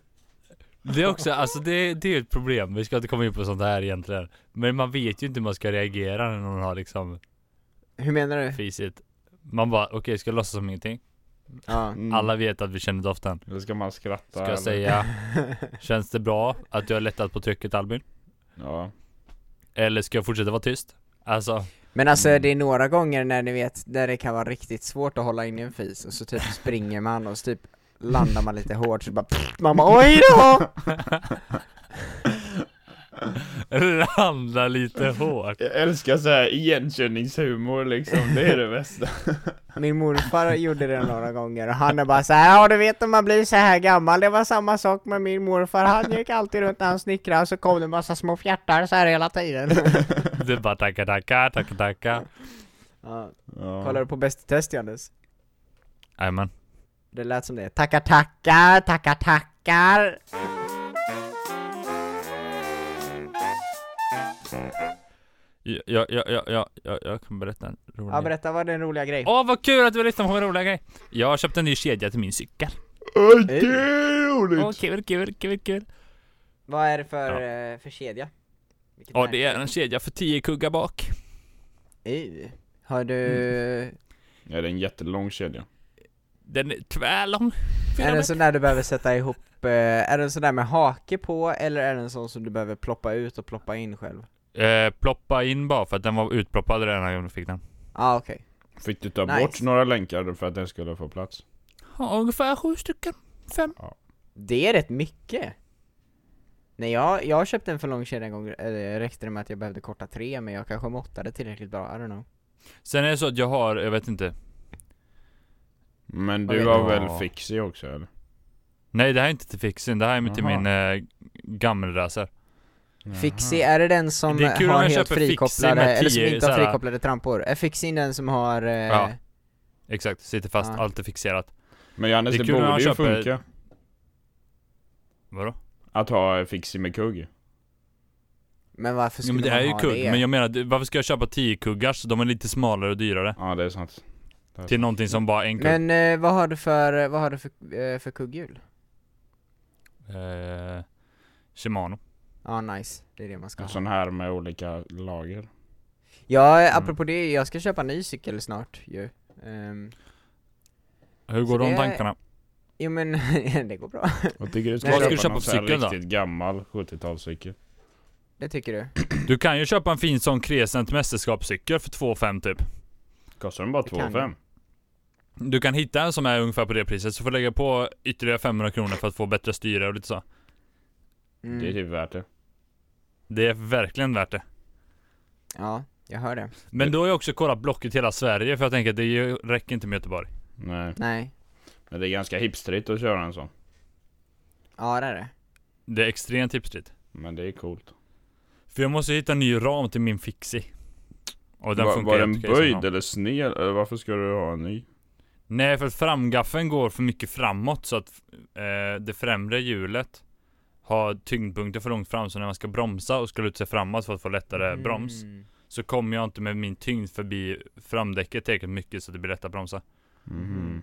S1: Det är också, alltså det, det är ett problem. Vi ska inte komma in på sånt här egentligen. Men man vet ju inte hur man ska reagera när någon har liksom
S2: Hur menar du?
S1: fisit. Man bara, okej ska jag låtsas som ingenting?
S2: Ja.
S3: Mm.
S1: Alla vet att vi känner doften.
S3: Eller Mm. ska man skratta?
S1: Ska
S3: eller?
S1: jag
S3: [laughs]
S1: säga, känns det bra att jag har lättat på trycket Albin?
S3: Ja.
S1: Eller ska jag fortsätta vara tyst? Alltså, [laughs]
S2: Men alltså
S3: Mm.
S2: det är några gånger när ni vet, där det kan vara riktigt svårt att hålla in i en fis och
S1: [laughs]
S2: så typ springer man och så typ landar man lite hårt så bara pff,
S1: [laughs]
S2: man bara oj då!
S1: landa lite hårt.
S3: [laughs] Jag älskar så här igenkänningshumor liksom, det är det bästa.
S2: Min morfar gjorde det några gånger och han är bara så här, ja du vet när man blir så här gammal, det var samma sak med min morfar, han gick alltid runt när han snickrade och så kom det en massa små fjärtar så här
S1: [laughs]
S2: hela tiden.
S1: Det är bara tacka tacka, tacka tacka.
S2: Ja,
S3: [laughs] Ja.
S2: kollar du på Bäst i test Johannes?
S1: Jajamän.
S2: Det lät som det. Tackar tackar, tackar tackar!
S1: Jag, jag, jag, jag, jag, jag, jag kan berätta en rolig
S2: Ja berätta, vad är den roliga grejen?
S1: Åh vad kul att du lyssnar på min roliga grej! Jag har köpt en ny kedja till min cykel.
S3: Oj, det är roligt!
S1: Åh kul, kul, kul, kul.
S2: Vad är det för, eh, för kedja? Vilket
S1: Ja
S2: märke?
S1: det är en kedja för 10 kuggar bak.
S2: Ey, har du...
S1: Mm.
S3: Ja, det är en jättelång kedja.
S1: Den är tvärlång.
S2: Är det en sån där du behöver sätta ihop, eh, är det en sån där med hake på eller är det en sån som du behöver ploppa ut och ploppa in själv? Ja
S1: Eh, ploppa in bara för att den var utploppad redan när jag fick den.
S2: ah, okej,
S3: Fick du ta
S2: Nice.
S3: bort några länkar för att den skulle få plats?
S1: Ja, ungefär sju stycken. Fem.
S2: det är rätt mycket! Nej jag, jag köpte en för lång kedja en gång, eller räckte det med att jag behövde korta tre men jag kanske måttade tillräckligt bra, I don't know
S1: Sen är det så att jag har, jag vet inte.
S3: Men
S2: Vad
S3: du
S2: vet
S3: har
S1: jag?
S3: väl Fixie också eller?
S1: Nej det här är inte till fixen, det här är till
S3: Jaha.
S1: min eh, gammelracer. Mm.
S2: Fixie, är det den som
S1: Det är kul om
S2: har
S1: jag
S2: helt
S1: köper Fixie
S2: frikopplade,
S1: med
S2: eller som
S1: tio
S2: inte har
S1: såhär-
S2: frikopplade trampor? Är Fixie den som har... Eh,
S1: Ja. Exakt, sitter fast,
S2: Ja.
S1: allt är fixerat.
S3: Men Johannes,
S1: Det är
S3: det,
S1: kul när
S3: borde
S1: han
S3: ju
S1: köper-
S3: funka
S1: Vadå?
S3: att ha Fixie med kugg.
S2: Men varför
S1: Jo
S2: skulle
S1: men det
S2: man
S1: är ju
S2: ha
S1: kugg,
S2: det?
S1: men jag menar varför ska jag köpa 10 kuggar så de är lite smalare och dyrare?
S3: Ja, det är sant.
S1: Till någonting som bara är en kugg.
S2: Men eh, vad har du för, vad har du för, eh, för kugghjul?
S1: Eh, Shimano.
S2: Ja, nice. Det är det man ska
S3: En
S2: ha.
S3: sån här med olika lager.
S2: Ja, eh,
S1: Mm.
S2: apropå det, jag ska köpa en ny cykel snart ju. Ehm,
S1: Hur
S2: Så
S1: går de
S2: det-
S1: tankarna?
S2: jo men, [laughs] det går bra.
S3: Jag tycker du ska
S2: Vad
S3: köpa,
S2: ska
S1: du köpa
S3: någon
S1: för
S3: sån här
S1: cykel då?
S3: riktigt gammal 70-talscykel.
S2: Det tycker du?
S1: Du kan ju köpa en fin sån Crescent mästerskapscykel för 2 500 typ.
S3: Kostar den bara
S2: Det kan
S3: 2,5?
S1: Du kan hitta en som är ungefär på det priset, så får du lägga på ytterligare 500 kronor för att få bättre styre och lite så.
S2: Mm.
S3: Det är typ värt det.
S1: Det är verkligen värt det.
S2: Ja, jag hör det.
S1: Men då har jag också kollat Blocket hela Sverige, för jag tänker att det är ju- räcker inte med Göteborg.
S3: Nej.
S2: Nej.
S3: Men det är ganska hipstrigt att köra en sån.
S2: Ja, det är det.
S1: Det är extremt tipsigt.
S3: Men det är coolt.
S1: För jag måste hitta en ny ram till min Fixie. Och den
S3: var
S1: funkar
S3: var den
S1: jätteokej som
S3: böjd
S1: ram.
S3: eller sned? Eller varför ska du ha en ny?
S1: Nej, för att framgaffeln går för mycket framåt så att eh, det främre hjulet har tyngdpunkten för långt fram så när man ska bromsa och ska luta sig framåt för att få lättare broms
S2: Mm.
S1: så kommer jag inte med min tyngd förbi framdäcket tillräckligt mycket så att det blir lätt att bromsa.
S3: Mhm.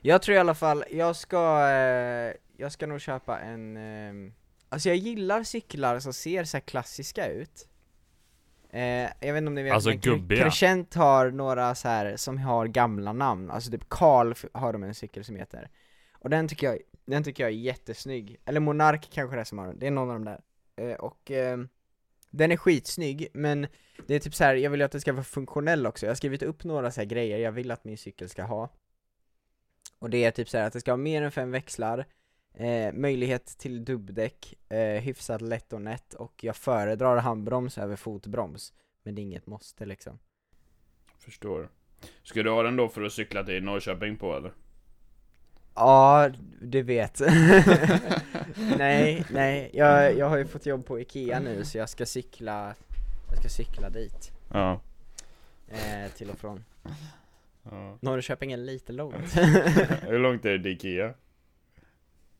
S2: Jag tror i alla fall, jag ska, eh, jag ska nog köpa en, eh, alltså jag gillar cyklar som ser så här klassiska ut eh, Jag vet inte om ni vet,
S1: Alltså
S2: men Cre-
S1: gubbiga.
S2: Crescent har några så här som har gamla namn, alltså typ Karl f- har de en cykel som heter Och den tycker jag, den tycker jag är jättesnygg, eller Monark kanske det är som har den, det är någon av de där eh, Och ehm, den är skitsnygg, men det är typ så här, jag vill ju att den ska vara funktionell också, jag har skrivit upp några så här grejer jag vill att min cykel ska ha Och det är typ så här att det ska ha mer än fem växlar, eh, möjlighet till dubbdäck, eh, hyfsat lätt och nätt och jag föredrar handbroms över fotbroms. Men det är inget måste liksom.
S3: Förstår. Ska du ha den då för att cykla till Norrköping på eller?
S2: Ja, du vet. [laughs] nej, nej. Jag, jag har ju fått jobb på Ikea nu så jag ska cykla, jag ska cykla dit.
S3: Ja.
S2: Eh, till och från.
S3: ja. [laughs]
S2: Norrköping är lite långt. [laughs]
S3: Hur långt är det till Ikea?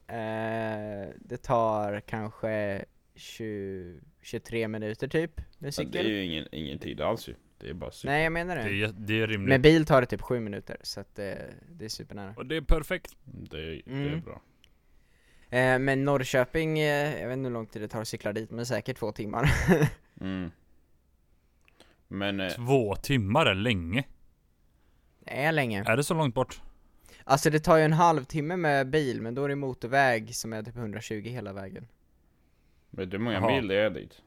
S2: Eh, det tar kanske 20, 23 minuter typ med
S3: Ja, det är
S2: cykel.
S3: ju ingen, ingen tid alls ju. Det är bara cykel.
S2: Nej jag menar
S1: Det
S2: det.
S1: är, jä- det är rimligt.
S2: Med bil tar det typ 7 minuter så att det, det är supernära.
S1: Och det är perfekt.
S3: Det, är- det är
S2: Mm.
S3: bra.
S2: Eh, men Norrköping, eh, jag vet inte hur lång tid det tar att cykla dit men säkert två timmar. [laughs]
S3: Mm. Men eh,
S1: Två timmar är länge.
S2: det är länge.
S1: Är det så långt bort?
S2: Alltså det tar ju en halvtimme med bil men då är det motorväg som är typ 120 hela vägen.
S3: vet du hur många
S1: Jaha.
S3: mil det är dit?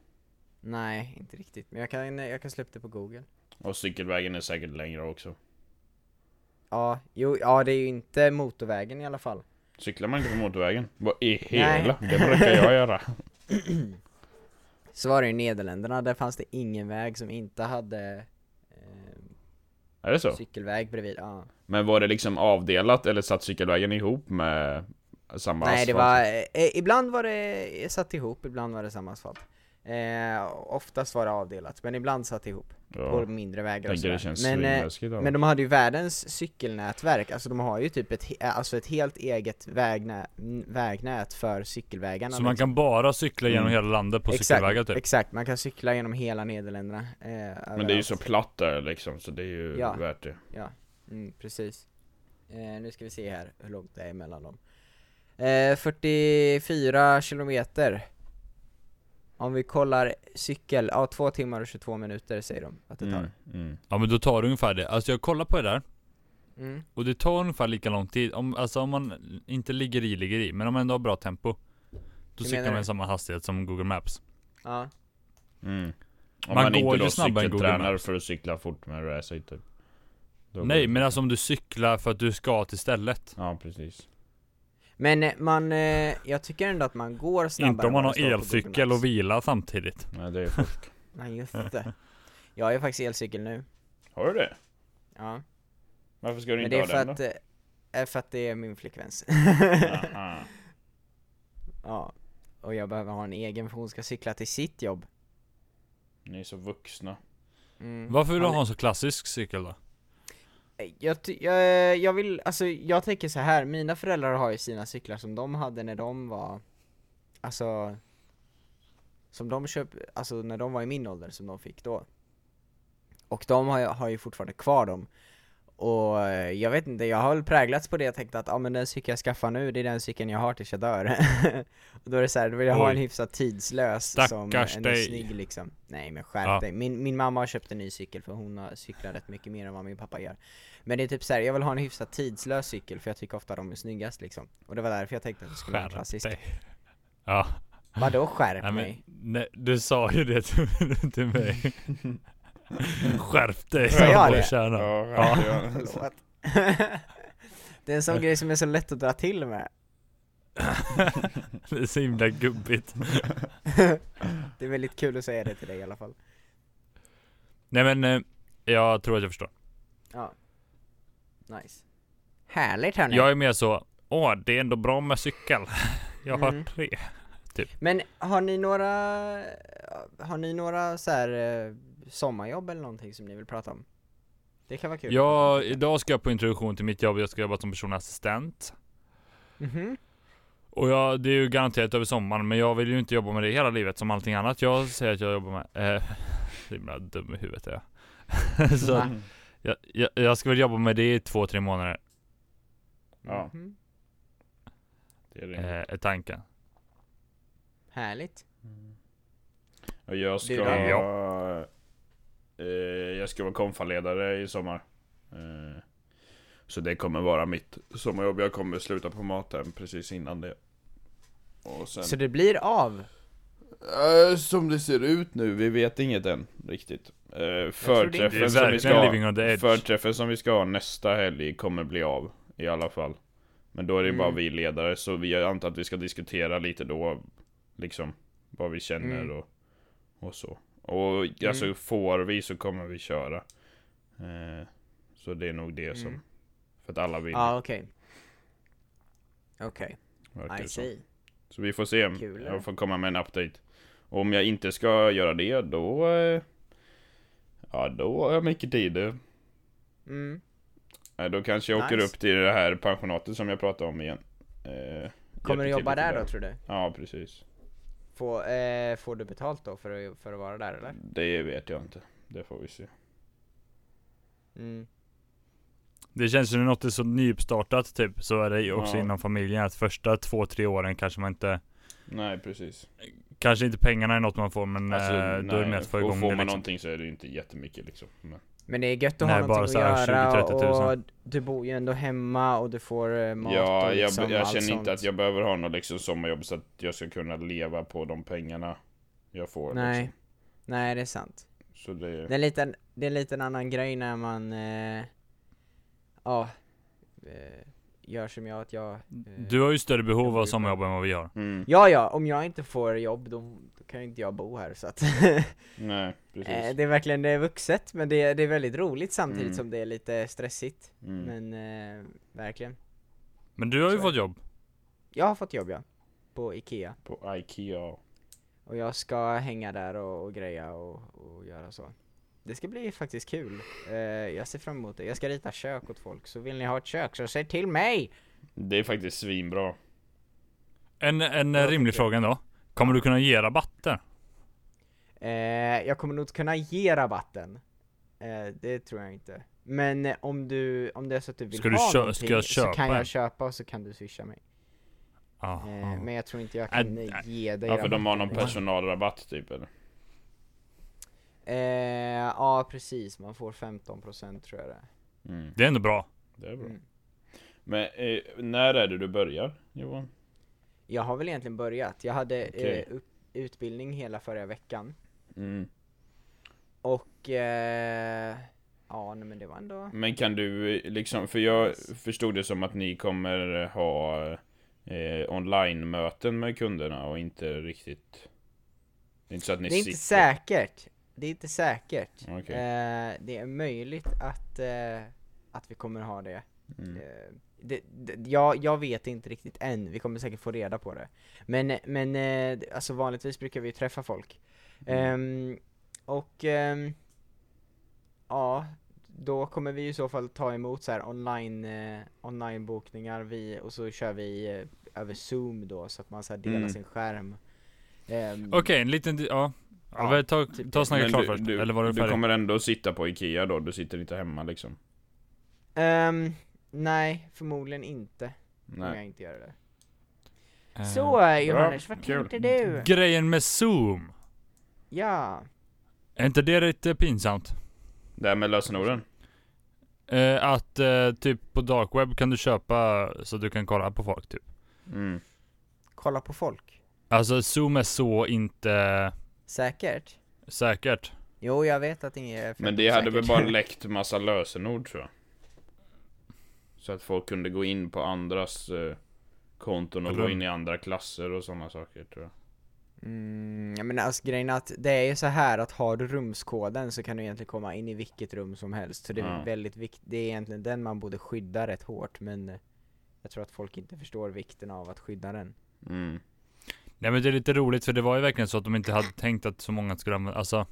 S2: Nej, inte riktigt. Men jag kan, jag kan slå upp det på google.
S3: Och cykelvägen är säkert längre också.
S2: Ja, jo, ja det är ju inte motorvägen i alla fall. [clears throat]
S3: Cyklar man inte på motorvägen? Vad i
S2: Nej.
S3: hela? Det brukar jag göra.
S2: Så var det i Nederländerna, där fanns det ingen väg som inte hade eh,
S3: Är
S2: [laughs]
S3: det så?
S2: cykelväg bredvid. Ja.
S3: Men var det liksom avdelat eller satt cykelvägen ihop med samma
S2: Nej det
S3: asfalt?
S2: var, eh, ibland var det eh, satt ihop, ibland var det samma asfalt. Eh, oftast var det avdelat, men ibland satt ihop.
S3: Ja.
S2: På mindre vägar och
S3: Tänker
S2: sådär.
S3: det känns
S2: Men, eh,
S3: svinläskigt av
S2: men
S3: dem.
S2: de hade ju världens cykelnätverk, alltså de har ju typ ett, he- alltså ett helt eget vägnä, n- vägnät för cykelvägarna.
S1: Så man
S2: liksom.
S1: kan bara cykla genom
S3: Mm.
S1: hela landet på
S2: Exakt,
S1: cykelvägar typ?
S2: Exakt, man kan cykla genom hela Nederländerna. Eh,
S3: Men det är ju
S2: överallt.
S3: så platt där liksom så det är ju
S2: Ja.
S3: värt det.
S2: Mm, precis. Eh, nu ska vi se här hur långt det är mellan dem. Eh, 44 kilometer. Om vi kollar cykel, ja 2 timmar och 22 minuter säger de att det tar.
S3: Mm, mm.
S1: Ja men då tar det ungefär det. Alltså jag kollar på det där.
S2: Mm.
S1: Och det tar ungefär lika lång tid. Om, alltså om man inte ligger i, ligger i. Men om man ändå har bra tempo. Då
S2: Hur
S1: cyklar
S2: menar
S1: man
S2: du?
S1: i samma hastighet som Google Maps.
S2: Ja.
S3: Mm. Om man,
S1: Man går
S3: inte
S1: ju
S3: då
S1: snabbare än Google
S3: cykeltränar
S1: Maps.
S3: för att cykla fort med racing typ. Då
S1: Nej
S3: går det.
S1: men alltså om du cyklar för att du ska till stället.
S3: Ja precis.
S2: Men eh, man, eh, jag tycker ändå att man går snabbare
S1: inte om
S2: än
S1: man
S2: vad det
S1: har
S2: står på Google
S1: elcykel
S2: Maps.
S1: och vila samtidigt.
S3: Nej det är fort. [laughs]
S2: Nej
S1: [laughs]
S2: just det. Jag har ju faktiskt elcykel nu.
S3: Har du det?
S2: Ja.
S3: Varför ska du
S2: Men
S3: inte
S2: det är
S3: ha
S2: för
S3: den
S2: att,
S3: då?
S2: eh, är för att det är min flickväns. [laughs]
S3: Aha.
S2: ja. Och jag behöver ha en egen för hon ska cykla till sitt jobb.
S3: Ni är
S1: [laughs]
S3: så vuxna.
S2: Mm.
S1: Varför vill du
S2: Han-
S1: ha en så klassisk cykel då?
S2: Jag, ty- jag, jag vill, alltså jag tänker så här. mina föräldrar har ju sina cyklar som de hade när de var, alltså, som de köp, alltså när de var i min ålder som de fick då. Och de har, ju- har ju fortfarande kvar dem. Och eh, jag vet inte, jag har väl präglats på det jag tänkte att ah, men den cykel jag skaffar nu, det är den cykeln jag har tills jag dör. [laughs] och då är det så här, då vill jag ha
S1: Oj.
S2: en hyfsat tidslös som
S1: Stackars
S2: ändå
S1: dig.
S2: är snygg liksom. Nej men skärp
S1: Ja.
S2: dig. Min, min mamma har köpt en ny cykel för hon har cyklat rätt mycket mer än vad min pappa gör. Men det är typ så här, jag vill ha en hyfsat tidslös cykel för jag tycker ofta de är snyggast liksom. Och det var därför jag tänkte att det skulle vara en klassisk.
S1: dig. Ja.
S2: Vadå skärp
S1: Nej, men,
S2: mig?
S1: nej, du sa ju det till, till
S2: [laughs]
S1: mig. Skärp dig.
S2: Sa jag
S1: grabbar och
S2: det?
S1: tjänar.
S2: [laughs]
S3: ja. ja.
S2: Förlåt. [laughs] det är en sån grej som är så lätt att dra till med.
S1: [laughs]
S2: [laughs]
S1: det är så himla gubbigt.
S2: det är väldigt kul att säga det till dig i alla fall.
S1: Nej men, eh, jag tror att jag förstår.
S2: Ja. Nice. Härligt hörni.
S1: Jag är mer så, åh det är ändå bra med cykel. [laughs] Jag har
S2: Mm.
S1: tre.
S2: Men har ni några, har ni några så här eh, sommarjobb eller någonting som ni vill prata om? Det kan vara kul.
S1: Jag, idag ska jag på introduktion till mitt jobb, jag ska jobba som personlig assistent.
S2: Mhm.
S1: Och jag, det är ju garanterat över sommaren, men jag vill ju inte jobba med det hela livet som allting annat jag säger att jag jobbar med. Eh, [laughs] så himla dum i huvudet är [laughs] jag. så
S2: Va?
S1: jag, jag, jag ska väl jobba med det i två, tre månader,
S3: Ja.
S2: Mhm.
S3: Det är
S1: eh,
S3: det.
S1: är tanken.
S2: Härligt.
S3: Och jag
S2: Du
S3: ska...
S2: då?
S3: Eh, jag ska vara konfaledare i sommar. Eh, så det kommer vara mitt sommarjobb. Jag kommer sluta på maten precis innan det. Och sen...
S2: Så det blir av?
S3: Eh, som det ser ut nu, vi vet inget än riktigt. Eh,
S2: tror det är-
S1: Det är
S3: förträffen, som vi ska
S1: verkligen
S3: ha,
S1: living on the edge.
S3: förträffen som vi ska ha nästa helg kommer bli av i alla fall. Men då är det ju bara
S2: Mm.
S3: vi ledare, så vi jag antar att vi ska diskutera lite då, liksom vad vi känner
S2: Mm.
S3: och, och så. Och alltså
S2: Mm.
S3: får vi så kommer vi köra. Eh, så det är nog det som,
S2: Mm.
S3: för att alla vill.
S2: Ja, okej. Okej,
S3: verkar det
S2: I
S3: som.
S2: see.
S3: Så vi får se,
S2: Kul, eller?
S3: jag får komma med en update. Och om jag inte ska göra det, då... eh, Ja, då har jag mycket tid. eh.
S2: Mm.
S3: Eh, Då kanske jag åker
S2: Nice.
S3: upp till det här pensionatet som jag pratade om igen. Eh,
S2: Kommer du
S3: hjälper
S2: jobba
S3: till lite
S2: där då tror du?
S3: Ja, precis.
S2: Får, eh, får du betalt då för att, för att vara där
S3: Mm.
S2: eller?
S3: Det vet jag inte. Det får vi se.
S2: Mm.
S1: Det känns som något är så nystartat typ, så är det ju också
S3: Ja.
S1: inom familjen att första två, tre åren kanske man inte
S3: Nej, precis.
S1: Kanske inte pengarna är något man får men
S3: Alltså,
S1: eh, då är det
S3: nej.
S1: mer att få
S3: Och
S1: igång
S3: får
S1: det
S3: man
S1: liksom.
S3: någonting så är det ju inte jättemycket liksom. Men,
S2: Men det är gött att
S1: Nej,
S2: ha
S1: bara
S2: någonting
S1: så här
S2: att göra
S1: 20-30
S2: och du bor ju ändå hemma och du får eh, mat
S3: ja,
S2: och
S3: jag,
S2: liksom
S3: jag
S2: allt
S3: känner
S2: sånt.
S3: inte att jag behöver ha något liksom sommarjobb så att jag ska kunna leva på de pengarna jag får.
S2: Nej.
S3: Liksom.
S2: Nej, det är sant.
S3: Så det...
S2: Det är, en liten, det är en liten annan grej när man, eh, ja, eh, gör som jag att jag... Eh,
S1: Du har ju större
S2: Jag
S1: behov
S2: bor
S1: av
S2: ju
S1: sommarjobb än vad vi har.
S3: Mm.
S2: Ja, ja, om jag inte får jobb då, då kan ju inte jag bo här så att [laughs]
S3: Nej, precis.
S2: eh, Det är verkligen, det är vuxet men det, är- det är väldigt roligt samtidigt
S3: Mm.
S2: som det är lite stressigt.
S3: Mm.
S2: Men eh, verkligen.
S1: Men du har ju
S2: Så är
S1: fått jobb.
S2: Jag har fått jobb ja, på Ikea.
S3: På Ikea.
S2: Och jag ska hänga där och, och greja och, och göra så. Det ska bli faktiskt kul. Eh, jag ser fram emot det. Jag ska rita kök åt folk, så vill ni ha ett kök så säg till mig!
S3: Det är faktiskt svinbra.
S1: En, en
S2: Ja,
S1: eh, rimlig
S2: okej.
S1: fråga då. Kommer du kunna ge rabatter?
S2: Eh, jag kommer nog inte kunna ge rabatten. Eh, det tror jag inte. Men eh, om du, om det är så att du vill
S1: Ska du
S2: ha
S1: kö-
S2: någonting
S1: ska jag
S2: så
S1: köpa
S2: kan
S1: en?
S2: jag köpa och så kan du swisha mig.
S1: Aha.
S2: Eh, men jag tror inte jag
S1: Äh,
S2: kan
S1: äh.
S2: ge dig
S3: Ja, för de har någon
S2: rabatten.
S3: personalrabatt typ eller?
S2: Eh, ja precis, man får 15% tror jag det är.
S3: Mm.
S1: Det är ändå bra.
S3: Det är bra.
S2: Mm.
S3: Men eh, när är det du börjar Johan?
S2: Jag har väl egentligen börjat. Jag hade
S3: Okej.
S2: eh, upp, utbildning hela förra veckan.
S3: Mm.
S2: Och eh, ja, nej, men det var ändå...
S3: Men kan du eh, liksom, för jag förstod det som att ni kommer ha eh, online-möten med kunderna och inte riktigt... Det är inte så att ni
S2: Det är
S3: sitter...
S2: inte säkert. Det är inte säkert.
S3: Okej.
S2: Eh, det är möjligt att, eh, att vi kommer ha det.
S3: Mm.
S2: Eh, det, det jag, jag vet inte riktigt än, vi kommer säkert få reda på det. Men, men eh, alltså vanligtvis brukar vi ju träffa folk.
S3: Mm.
S2: Ehm, och ehm, ja, då kommer vi i så fall ta emot så här online, eh, onlinebokningar vi, och så kör vi eh, över zoom då så att man så här delar
S3: Mm.
S2: sin skärm. Ehm,
S1: Okej, en liten... di- Ja.
S2: Ja,
S1: ja, väl, ta,
S2: typ
S1: ta
S2: det.
S1: snacket
S3: Men
S1: klart
S3: du,
S1: först.
S3: du,
S1: Eller var du
S3: du
S1: färdig?
S3: kommer ändå sitta på Ikea då? Du sitter inte hemma liksom?
S2: ehm, nej, förmodligen inte. Om jag
S3: Nej. Ehm,
S2: inte gör det.
S1: Eh,
S2: Så Johannes, vad
S3: kul.
S2: tänkte du?
S1: Grejen med zoom.
S2: Ja.
S1: Är inte det lite pinsamt?
S3: Det här med lösenorden?
S1: Eh, att eh, typ på dark web kan du köpa så du kan kolla på folk typ.
S3: Mm.
S2: kolla på folk.
S1: Alltså zoom är så inte
S2: Säkert?
S1: säkert.
S2: Jo, jag vet att inget är
S3: Men det hade väl
S2: säkert.
S3: bara läckt massa lösenord tror jag. Så att folk kunde gå in på andras eh, konton och gå
S1: Rum.
S3: in i andra klasser och sådana saker tror jag.
S2: Mm, ja, men alltså grejen är att det är ju så här att har du rumskoden så kan du egentligen komma in i vilket rum som helst. Så det är
S3: Ja.
S2: väldigt viktigt, det är egentligen den man borde skydda rätt hårt men eh, jag tror att folk inte förstår vikten av att skydda den.
S3: Mm.
S1: Nej men det är lite roligt för det var ju verkligen så att de inte hade tänkt att så många skulle använda, alltså.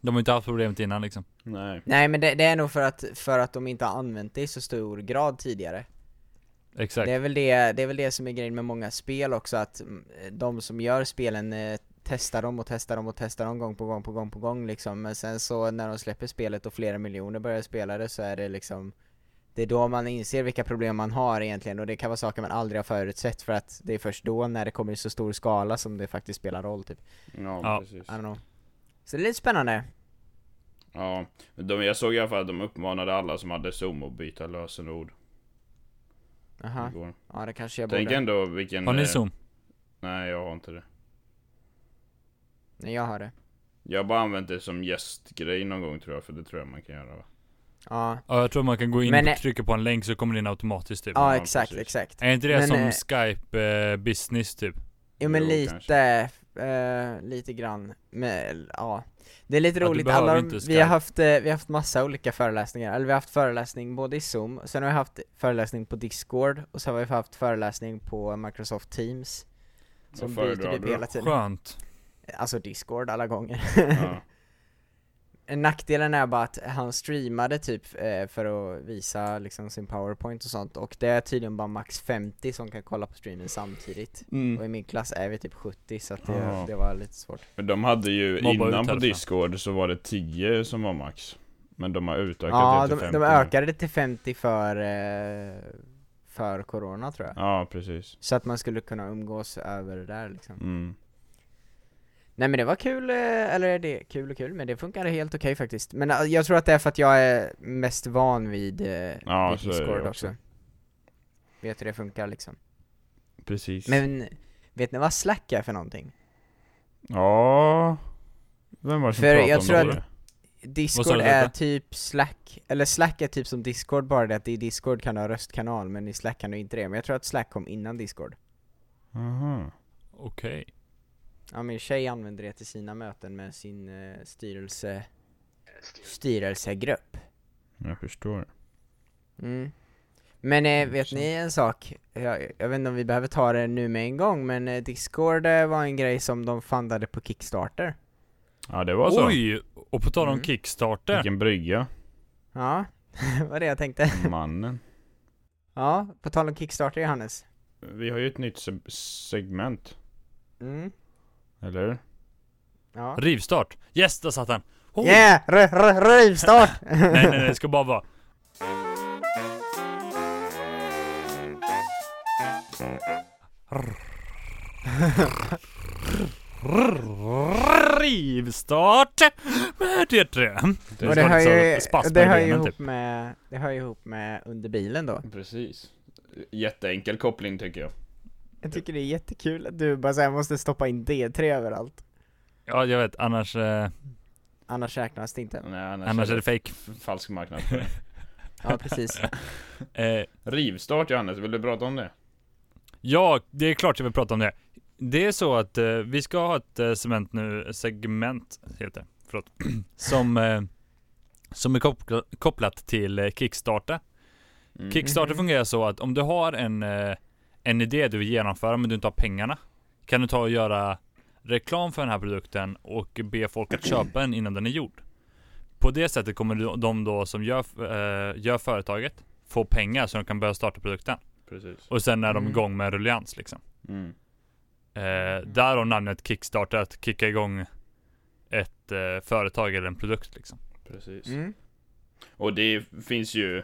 S1: De har inte haft problemet innan liksom.
S3: Nej.
S2: Nej men det, det är nog för att, för att de inte har använt det i så stor grad tidigare.
S1: Exakt.
S2: Det är, väl det, det är väl det som är grejen med många spel också, att mm, de som gör spelen eh, testar dem och testar dem och testar dem gång på gång på gång på gång liksom. Men sen så när de släpper spelet och flera miljoner börjar spela det så är det liksom Det är då man inser vilka problem man har egentligen och det kan vara saker man aldrig har förutsett för att det är först då när det kommer i så stor skala som det faktiskt spelar roll typ.
S3: Ja,
S1: Ja.
S2: I
S3: precis.
S2: don't know. Så det är lite spännande.
S3: Ja. De, jag såg i alla fall att de uppmanade alla som hade Zoom att byta lösenord
S2: Aha.
S3: igår.
S2: Ja det kanske jag
S3: Mm. Tänk
S2: borde.
S3: ändå vilken...
S1: Har ni
S3: eh,
S1: zoom?
S3: Nej, jag har inte det.
S2: Nej jag har det. [laughs]
S3: Jag har bara använt det som gästgrej någon gång tror jag, för det tror jag man kan göra va?
S2: Ja,
S1: Ja, jag tror man kan gå in
S2: Men, eh,
S1: och trycka på en länk så kommer det in automatiskt typ.
S2: ja
S3: ja,
S2: exakt,
S3: precis.
S2: exakt.
S1: Är inte det
S2: Men,
S1: som
S2: eh,
S1: Skype eh, business typ?
S2: Jo men
S3: Jo,
S2: lite, eh, lite grann, men ja Det är lite
S1: Ja, du
S2: roligt,
S1: behöver
S2: alla,
S1: inte
S2: vi
S1: Skype.
S2: har haft, eh, vi har haft massa olika föreläsningar, eller vi har haft föreläsning både i zoom, sen har vi haft föreläsning på discord, och sen har vi haft föreläsning på microsoft teams Som
S3: Vad
S2: byter
S3: föredrar
S2: typ
S3: du?
S2: hela tiden
S1: Skönt.
S2: Alltså discord alla gånger
S3: Ja.
S2: [laughs] Nackdelen är bara att han streamade typ eh, för att visa liksom sin powerpoint och sånt, och det är tydligen bara max 50 som kan kolla på streamen samtidigt Och i min klass är vi typ 70 så att det,
S3: Ja.
S2: det var lite svårt
S3: Men de hade ju,
S1: Mobba ut
S3: innan på
S1: hälften.
S3: Discord så var det 10 som var max. Men de har utökat
S2: Ja,
S3: det till typ
S2: de,
S3: 50
S2: de
S3: nu.
S2: ökade det till 50 för, eh, för corona tror jag.
S3: Ja, precis.
S2: Så att man skulle kunna umgås över det där liksom.
S3: Mm.
S2: Nej men det var kul, eh, eller det, kul och kul, men det funkade helt okej faktiskt. Men eh, jag tror att det är för att jag är mest van vid, eh,
S3: Ja,
S2: vid
S3: så är det
S2: Discord också.
S3: också.
S2: Vet hur det funkar liksom.
S3: Precis.
S2: Men vet ni vad Slack är för någonting?
S3: Ja... Vem var det som
S2: För
S3: pratade
S2: jag
S3: om
S2: tror
S3: det?
S2: att-
S1: Vad
S2: Discord
S1: sa du,
S2: är
S1: Peppe?
S2: typ Slack, eller Slack är typ som Discord bara det att i Discord kan du ha röstkanal men i Slack kan du inte det. Men jag tror att Slack kom innan Discord.
S3: Aha.
S1: Okej.
S2: Ja min tjej använder det till sina möten med sin eh, styrelse styrelsegrupp.
S3: Jag förstår.
S2: Mm. Men eh, vet
S3: Intressant.
S2: ni en sak? Jag, jag vet inte om vi behöver ta det nu med en gång men eh, Discord eh, var en grej som de fundade på Kickstarter.
S3: Ja, det var så.
S1: Oj! Och på tal om
S2: Mm.
S1: Kickstarter.
S3: Vilken brygga.
S2: Ja, [laughs] var det jag tänkte.
S3: Mannen.
S2: Ja, på tal om Kickstarter Johannes.
S3: Vi har ju ett nytt se- segment.
S2: Mm.
S3: Eller hur?
S2: Ja.
S1: Rivstart. Yes, där satt han. Oh.
S2: Yeah! R- r- [laughs] Rivstart!
S1: Nej, nej, nej, det ska bara vara. Rivstart med det tre.
S2: Och det
S1: snart
S2: hör
S1: så
S2: ju,
S1: spasmer i
S2: det hör ju
S1: benen,
S2: ihop
S1: typ.
S2: med, det hör ju ihop med under bilen då.
S3: Precis. Jätteenkel koppling tycker jag.
S1: Typ.
S2: Jag tycker det är jättekul att du bara såhär måste stoppa in D3 överallt.
S1: Ja, jag vet. Annars, eh,
S2: Annars räknas det inte.
S3: Nej, annars,
S1: annars är det fake.
S3: f- falsk marknad. [laughs] för det.
S1: [laughs]
S2: Ja precis.
S1: Eh,
S3: Rivstart Johannes, vill du prata om det?
S1: ja, det är klart jag vill prata om det. Det är så att eh, vi ska ha ett eh, segment nu, segment heter det, förlåt. [clears throat] Som, eh, som är koppla- kopplat till eh, Kickstarter.
S3: Mm.
S1: Kickstarter
S2: Mhm.
S1: fungerar så att om du har en, eh, en idé du vill genomföra men du inte har pengarna. Kan du ta och göra reklam för den här produkten och be folk att köpa den innan den är gjord. På det sättet kommer du- de då som gör, eh, gör företaget få pengar så de kan börja starta produkten.
S3: Precis.
S1: Och sen är de
S2: Mm.
S1: igång med en rullians liksom.
S3: Mm.
S1: Eh, därav namnet Kickstarter, att kicka igång ett eh, företag eller en produkt liksom.
S3: Precis.
S2: Mm.
S3: Och det finns ju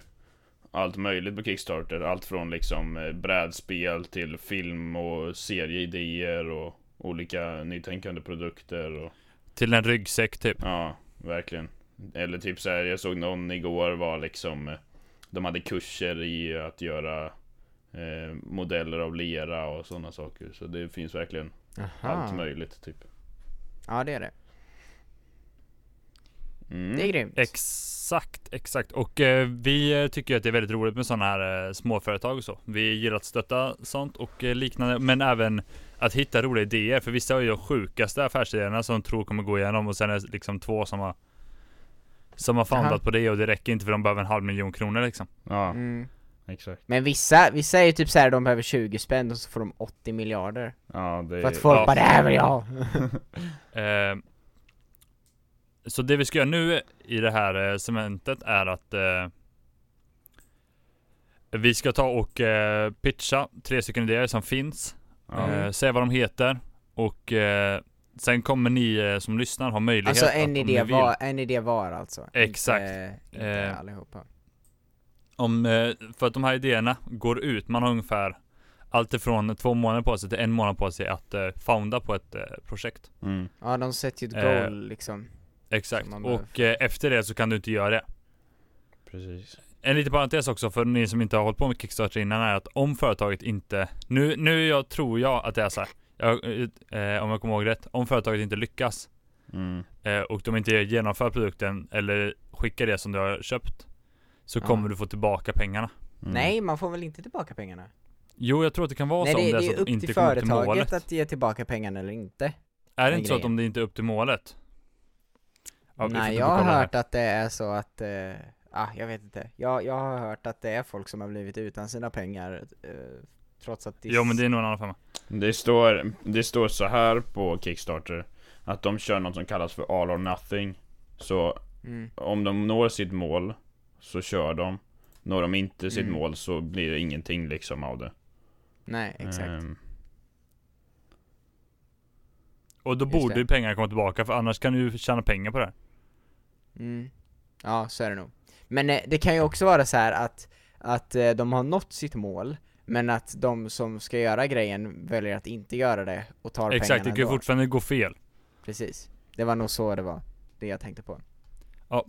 S3: allt möjligt på Kickstarter. Allt från liksom eh, brädspel till film och serieidéer och olika nytänkande produkter och
S1: Till en ryggsäck typ.
S3: ja, verkligen. Eller typ så här, jag såg någon igår var liksom eh, de hade kurser i att göra eh, modeller av lera och sådana saker. Så det finns verkligen
S2: Ah.
S3: allt
S2: Aha.
S3: möjligt typ.
S2: Ja det är det.
S3: Mm.
S2: Det är grymt.
S1: Exakt, exakt. Och eh, vi eh, tycker att det är väldigt roligt med sådana här eh, småföretag och så. Vi gillar att stötta sånt och eh, liknande, men även att hitta roliga idéer. För vissa är ju de sjukaste affärsidéerna som de tror kommer gå igenom och sen är det liksom två som har som har
S2: Jaha.
S1: fundat på det och det räcker inte för de behöver en halv miljon kronor liksom.
S3: Ja,
S2: Mm.
S3: exakt.
S2: Men vissa, vissa är ju typ såhär de behöver 20 spänn och så får de 80 miljarder.
S3: Ja, det
S2: För att folk
S1: ja.
S2: bara det här vill jag ha."
S1: Eh, så det vi ska göra nu i det här eh, cementet är att eh, vi ska ta och eh, pitcha tre stycken idéer som finns
S3: ja.
S1: Eh, säg vad de heter och eh, sen kommer ni eh, som lyssnar ha möjlighet
S2: Alltså
S1: att
S2: en
S1: om
S2: idé,
S1: ni vill,
S2: var, en idé var alltså.
S1: Exakt.
S2: Inte, inte
S1: Eh.
S2: allihopa.
S1: om, eh, för att de här idéerna går ut. Man har ungefär allt ifrån två månader på sig till en månad på sig att eh, founda på ett eh, projekt.
S3: Mm.
S2: Ja de sätter ju ett
S1: Eh.
S2: goal liksom.
S1: Exakt.
S2: Som man behöver.
S1: Och eh, efter det så kan du inte göra det.
S3: Precis.
S1: En liten parentes också för ni som inte har hållit på med Kickstarter innan är att om företaget inte Nu, nu är jag, tror jag att det är så här. Jag, eh, om jag kommer ihåg rätt. Om företaget inte lyckas
S3: Mm.
S1: eh, och de inte genomför produkten eller skickar det som du har köpt Så
S2: Ja.
S1: kommer du få tillbaka pengarna.
S3: Mm.
S2: Nej, man får väl inte tillbaka pengarna?
S1: Jo, jag tror att det kan vara
S2: Nej,
S1: så om
S2: det,
S1: det är
S2: det
S1: så
S2: är
S1: att
S2: upp
S1: de inte
S2: till
S1: kommer till
S2: företaget
S1: målet.
S2: att ge tillbaka pengarna eller inte.
S1: Är det
S2: den
S1: inte så att
S2: grejen.
S1: om det inte är upp till målet? Ja, vi får
S2: Nej,
S1: typ
S2: jag har
S1: kolla här.
S2: hört att det är så att, eh, ah, jag vet inte. Jag, jag har hört att det är folk som har blivit utan sina pengar eh, trots att
S1: Jo men det är nog en annan femma.
S3: Det står, det står så här på Kickstarter Att de kör något som kallas för all or nothing Så
S2: Mm.
S3: om de når sitt mål Så kör de Når de inte sitt
S2: Mm.
S3: mål så blir det ingenting liksom av det
S2: Nej, exakt.
S3: Ehm,
S1: Och då
S2: Just
S1: borde
S2: det.
S1: ju pengarna komma tillbaka för annars kan du ju tjäna pengar på det här.
S2: Mm. Ja, så är det nog. Men eh, det kan ju också vara så här att, att eh, de har nått sitt mål, men att de som ska göra grejen väljer att inte göra det och tar
S1: Exakt,
S2: pengarna
S1: det kan ju
S2: ändå.
S1: fortfarande gå fel.
S2: Precis. Det var nog så det var, det jag tänkte på.
S1: Ja.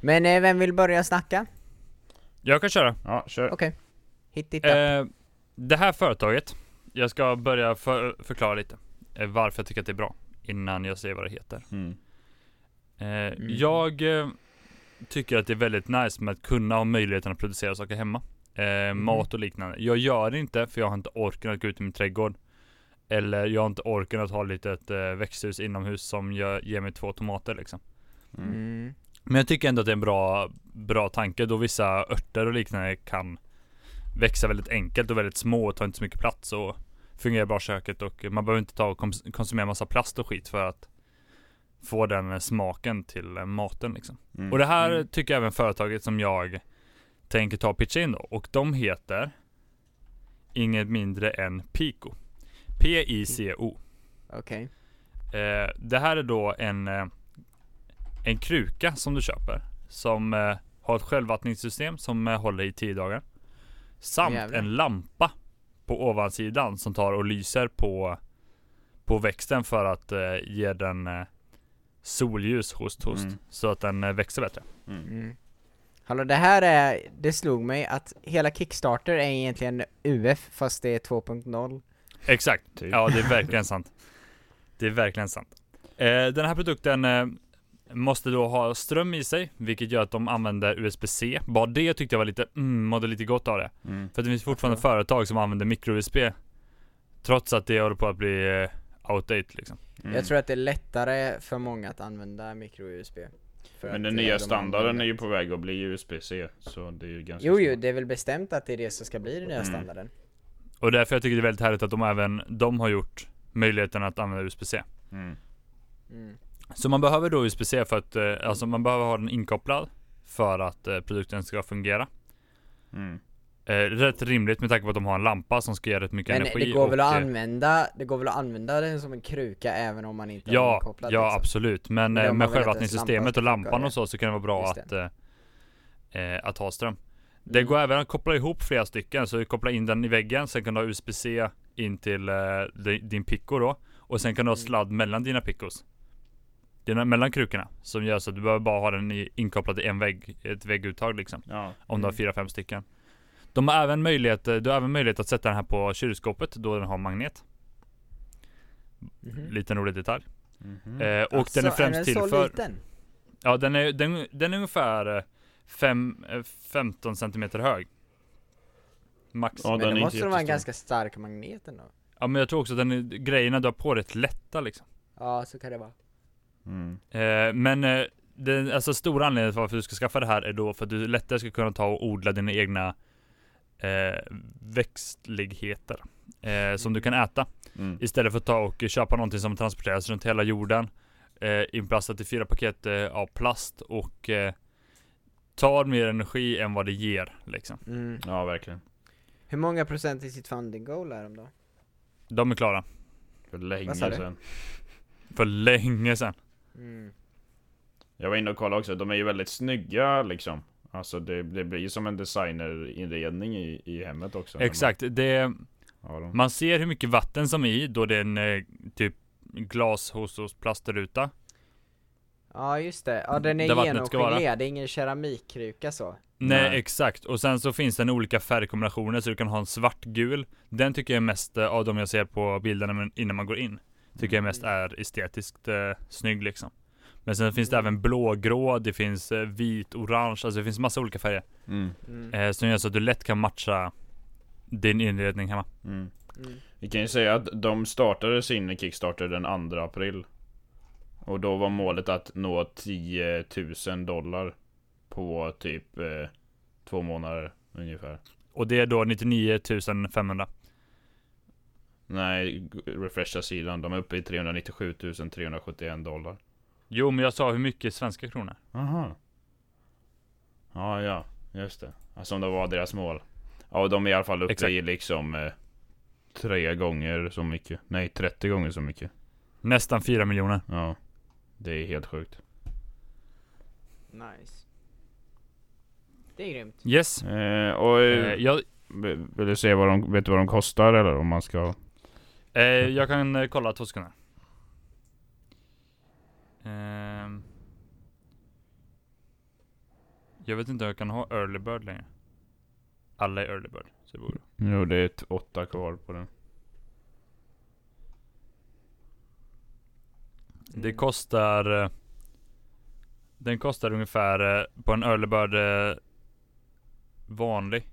S2: Men eh, vem vill börja snacka?
S1: Jag kan köra.
S3: Ja, kör
S2: Okej. Hit dit upp.
S1: Eh, det här företaget, jag ska börja för, förklara lite eh, varför jag tycker att det är bra innan jag säger vad det heter.
S3: mm.
S1: Eh, Jag eh, tycker att det är väldigt nice med att kunna ha möjligheten att producera saker hemma. Eh, Mat och liknande. Jag gör det inte för jag har inte orken att gå ut i min trädgård. Eller jag har inte orken att ha lite ett eh, växthus inomhus som jag, ger mig två tomater liksom.
S3: Mm.
S2: Mm.
S1: Men jag tycker ändå att det är en bra, bra tanke då vissa örter och liknande kan växa väldigt enkelt och väldigt små och tar inte så mycket plats och fungerar bra i köket och man behöver inte ta och kons- konsumera massa plast och skit för att få den eh, smaken till eh, maten liksom.
S3: Mm.
S1: Och det här
S2: Mm.
S1: tycker även företaget som jag tänker ta och pitcha in då och de heter inget mindre än Pico. P-I-C-O.
S2: Okej.
S1: Eh, det här är då en, eh, en kruka som du köper. Som eh, har ett självvattningssystem som eh, håller i 10 dagar. Samt
S2: Jävlar.
S1: en lampa på ovansidan som tar och lyser på, på växten för att eh, ge den eh, solljus host host.
S3: Mm.
S1: Så att den eh, växer bättre.
S3: Mm.
S2: Mm. Hallå, det här är, det slog mig att hela Kickstarter är egentligen UF fast det är 2.0.
S1: Exakt.
S3: Typ.
S1: Ja, det är verkligen sant. Det är verkligen sant. Eh, den här produkten eh, måste då ha ström i sig, vilket gör att de använder USB-C. Bara det tyckte jag var lite, mm, mådde lite gott av det.
S3: Mm.
S1: För att det finns fortfarande företag som använder micro-USB, trots att det håller på att bli eh, outdated liksom.
S3: Mm.
S2: Jag tror att det är lättare för många att använda micro-USB. för
S3: Men
S2: att,
S3: den
S2: eh,
S3: nya
S2: de
S3: standarden
S2: använder-
S3: är ju på väg att bli USB-C Så det är ju ganska
S2: Jo, jo,
S3: smart.
S2: det är väl bestämt att det är det som ska bli den nya
S3: Mm.
S2: standarden.
S1: Och därför jag tycker det är väldigt härligt att de även, de har gjort möjligheten att använda USB-C.
S3: mm.
S2: Mm.
S1: Så man behöver då USB-C för att, eh, alltså man behöver ha den inkopplad för att eh, produkten ska fungera.
S3: Mm.
S1: Eh, rätt rimligt med tanke på att de har en lampa som ska ge rätt mycket
S2: Men
S1: energi.
S2: det går, väl att
S1: och, eh,
S2: använda, det går väl att använda den som en kruka även om man inte har den
S1: Ja, ja
S2: kopplad liksom.
S1: absolut. Men
S2: Men
S1: eh,
S2: om
S1: med
S2: man vill att ens lampa
S1: självvattningssystemet
S2: ska
S1: och lampan
S2: funka,
S1: och så, så kan det vara bra
S2: Just Mm.
S1: att, eh, eh, att ha ström. Det går även att koppla ihop flera stycken, så du kopplar in den i väggen, sen kan du ha USB-C in till eh, di- din picko då. Och sen kan du ha
S2: Mm.
S1: sladd mellan dina pickos. Dina, mellan krukorna. Som gör så att du behöver bara ha den i, inkopplad i en vägg, ett vägguttag liksom.
S3: Ja,
S1: Om
S2: Mm.
S1: du har fyra, fem stycken. De har även möjlighet, du har även möjlighet att sätta den här på kylskåpet då den har magnet.
S2: Mhm.
S1: Liten rolig detalj.
S3: Mhm.
S1: Eh, och den är
S2: Alltså,
S1: främst
S2: den
S1: till
S2: så
S1: för...
S2: Liten?
S1: Ja, den är, den, den är ungefär eh, 5, 15 centimeter hög. Max. Ja.
S3: Ja,
S2: Men
S3: den
S2: då
S3: är
S2: måste
S3: inte
S2: de vara en
S3: jättestor.
S2: ganska stark magnet ändå.
S1: men jag tror också att den, är- grejerna du har på dig är rätt lätta liksom.
S2: Ja, så kan det vara.
S3: Mm.
S1: Eh, men eh, den alltså, stora anledningen till varför du ska skaffa det här är då för att du lättare ska kunna ta och odla dina egna eh, växtligheter. Eh, som du kan äta.
S3: Mm.
S1: Istället för att ta och köpa någonting som transporteras runt hela jorden eh, Inplastat i fyra paket eh, av plast och eh, Tar mer energi än vad det ger liksom
S2: Mm.
S3: Ja, verkligen
S2: Hur många procent i sitt funding goal är de då?
S1: De är klara
S3: För länge
S2: Vad sa du?
S3: sedan
S1: För länge sedan
S2: Mm.
S3: Jag var inne och kollade också, de är ju väldigt snygga liksom Alltså det, det blir ju som en designerinredning i, i hemmet också när
S1: Exakt, det,
S3: Man, har dem.
S1: man ser hur mycket vatten som är i då det är en eh, typ glas hos oss plastruta
S2: Ja, just det. Ja, den är
S1: Där vattnet ska vara.
S2: genomskinlig, det är ingen keramikkruka så.
S1: Nej,
S3: Nej.
S1: exakt, och sen så finns den olika färgkombinationer så du kan ha en svartgul Den tycker jag är mest eh, av de jag ser på bilderna men innan man går in Tycker jag mest är estetiskt eh, snygg liksom Men sen finns det även blågrå, det finns eh, vit, orange, alltså det finns massa olika färger.
S3: Mm.
S2: Mm.
S1: Eh, som gör så att du lätt kan matcha din inredning hemma.
S3: Mm.
S2: Mm.
S3: Vi kan ju säga att de startade sin Kickstarter den 2 april. Och då var målet att nå 10 000 dollar på typ eh, två månader ungefär.
S1: Och det är då 99 500.
S3: Nej, g- refresha sidan. De är uppe i 397 371 dollar.
S1: Jo, men jag sa hur mycket svenska kronor.
S3: Aha. Ja, ja, just det. Ja, Som det var deras mål. Ja, de är i alla fall uppe
S1: Exakt.
S3: i liksom eh, tre gånger så mycket. Nej, 30 gånger så mycket.
S1: Nästan 4 miljoner.
S3: Ja, det är helt sjukt.
S2: Nice. Det är grymt.
S1: Yes.
S3: Eh, och
S1: Eh,
S3: eh,
S1: jag,
S3: v- vill du se vad de, vet du vad de kostar eller om man ska?
S1: eh, jag kan eh, kolla två sekunder. Ehm. jag vet inte om jag kan ha early bird längre. Alla är early bird. Så det borde.
S3: Jo, det är ett åtta kvar på den.
S1: Det kostar... eh, Den kostar ungefär eh, på en early bird eh, vanlig.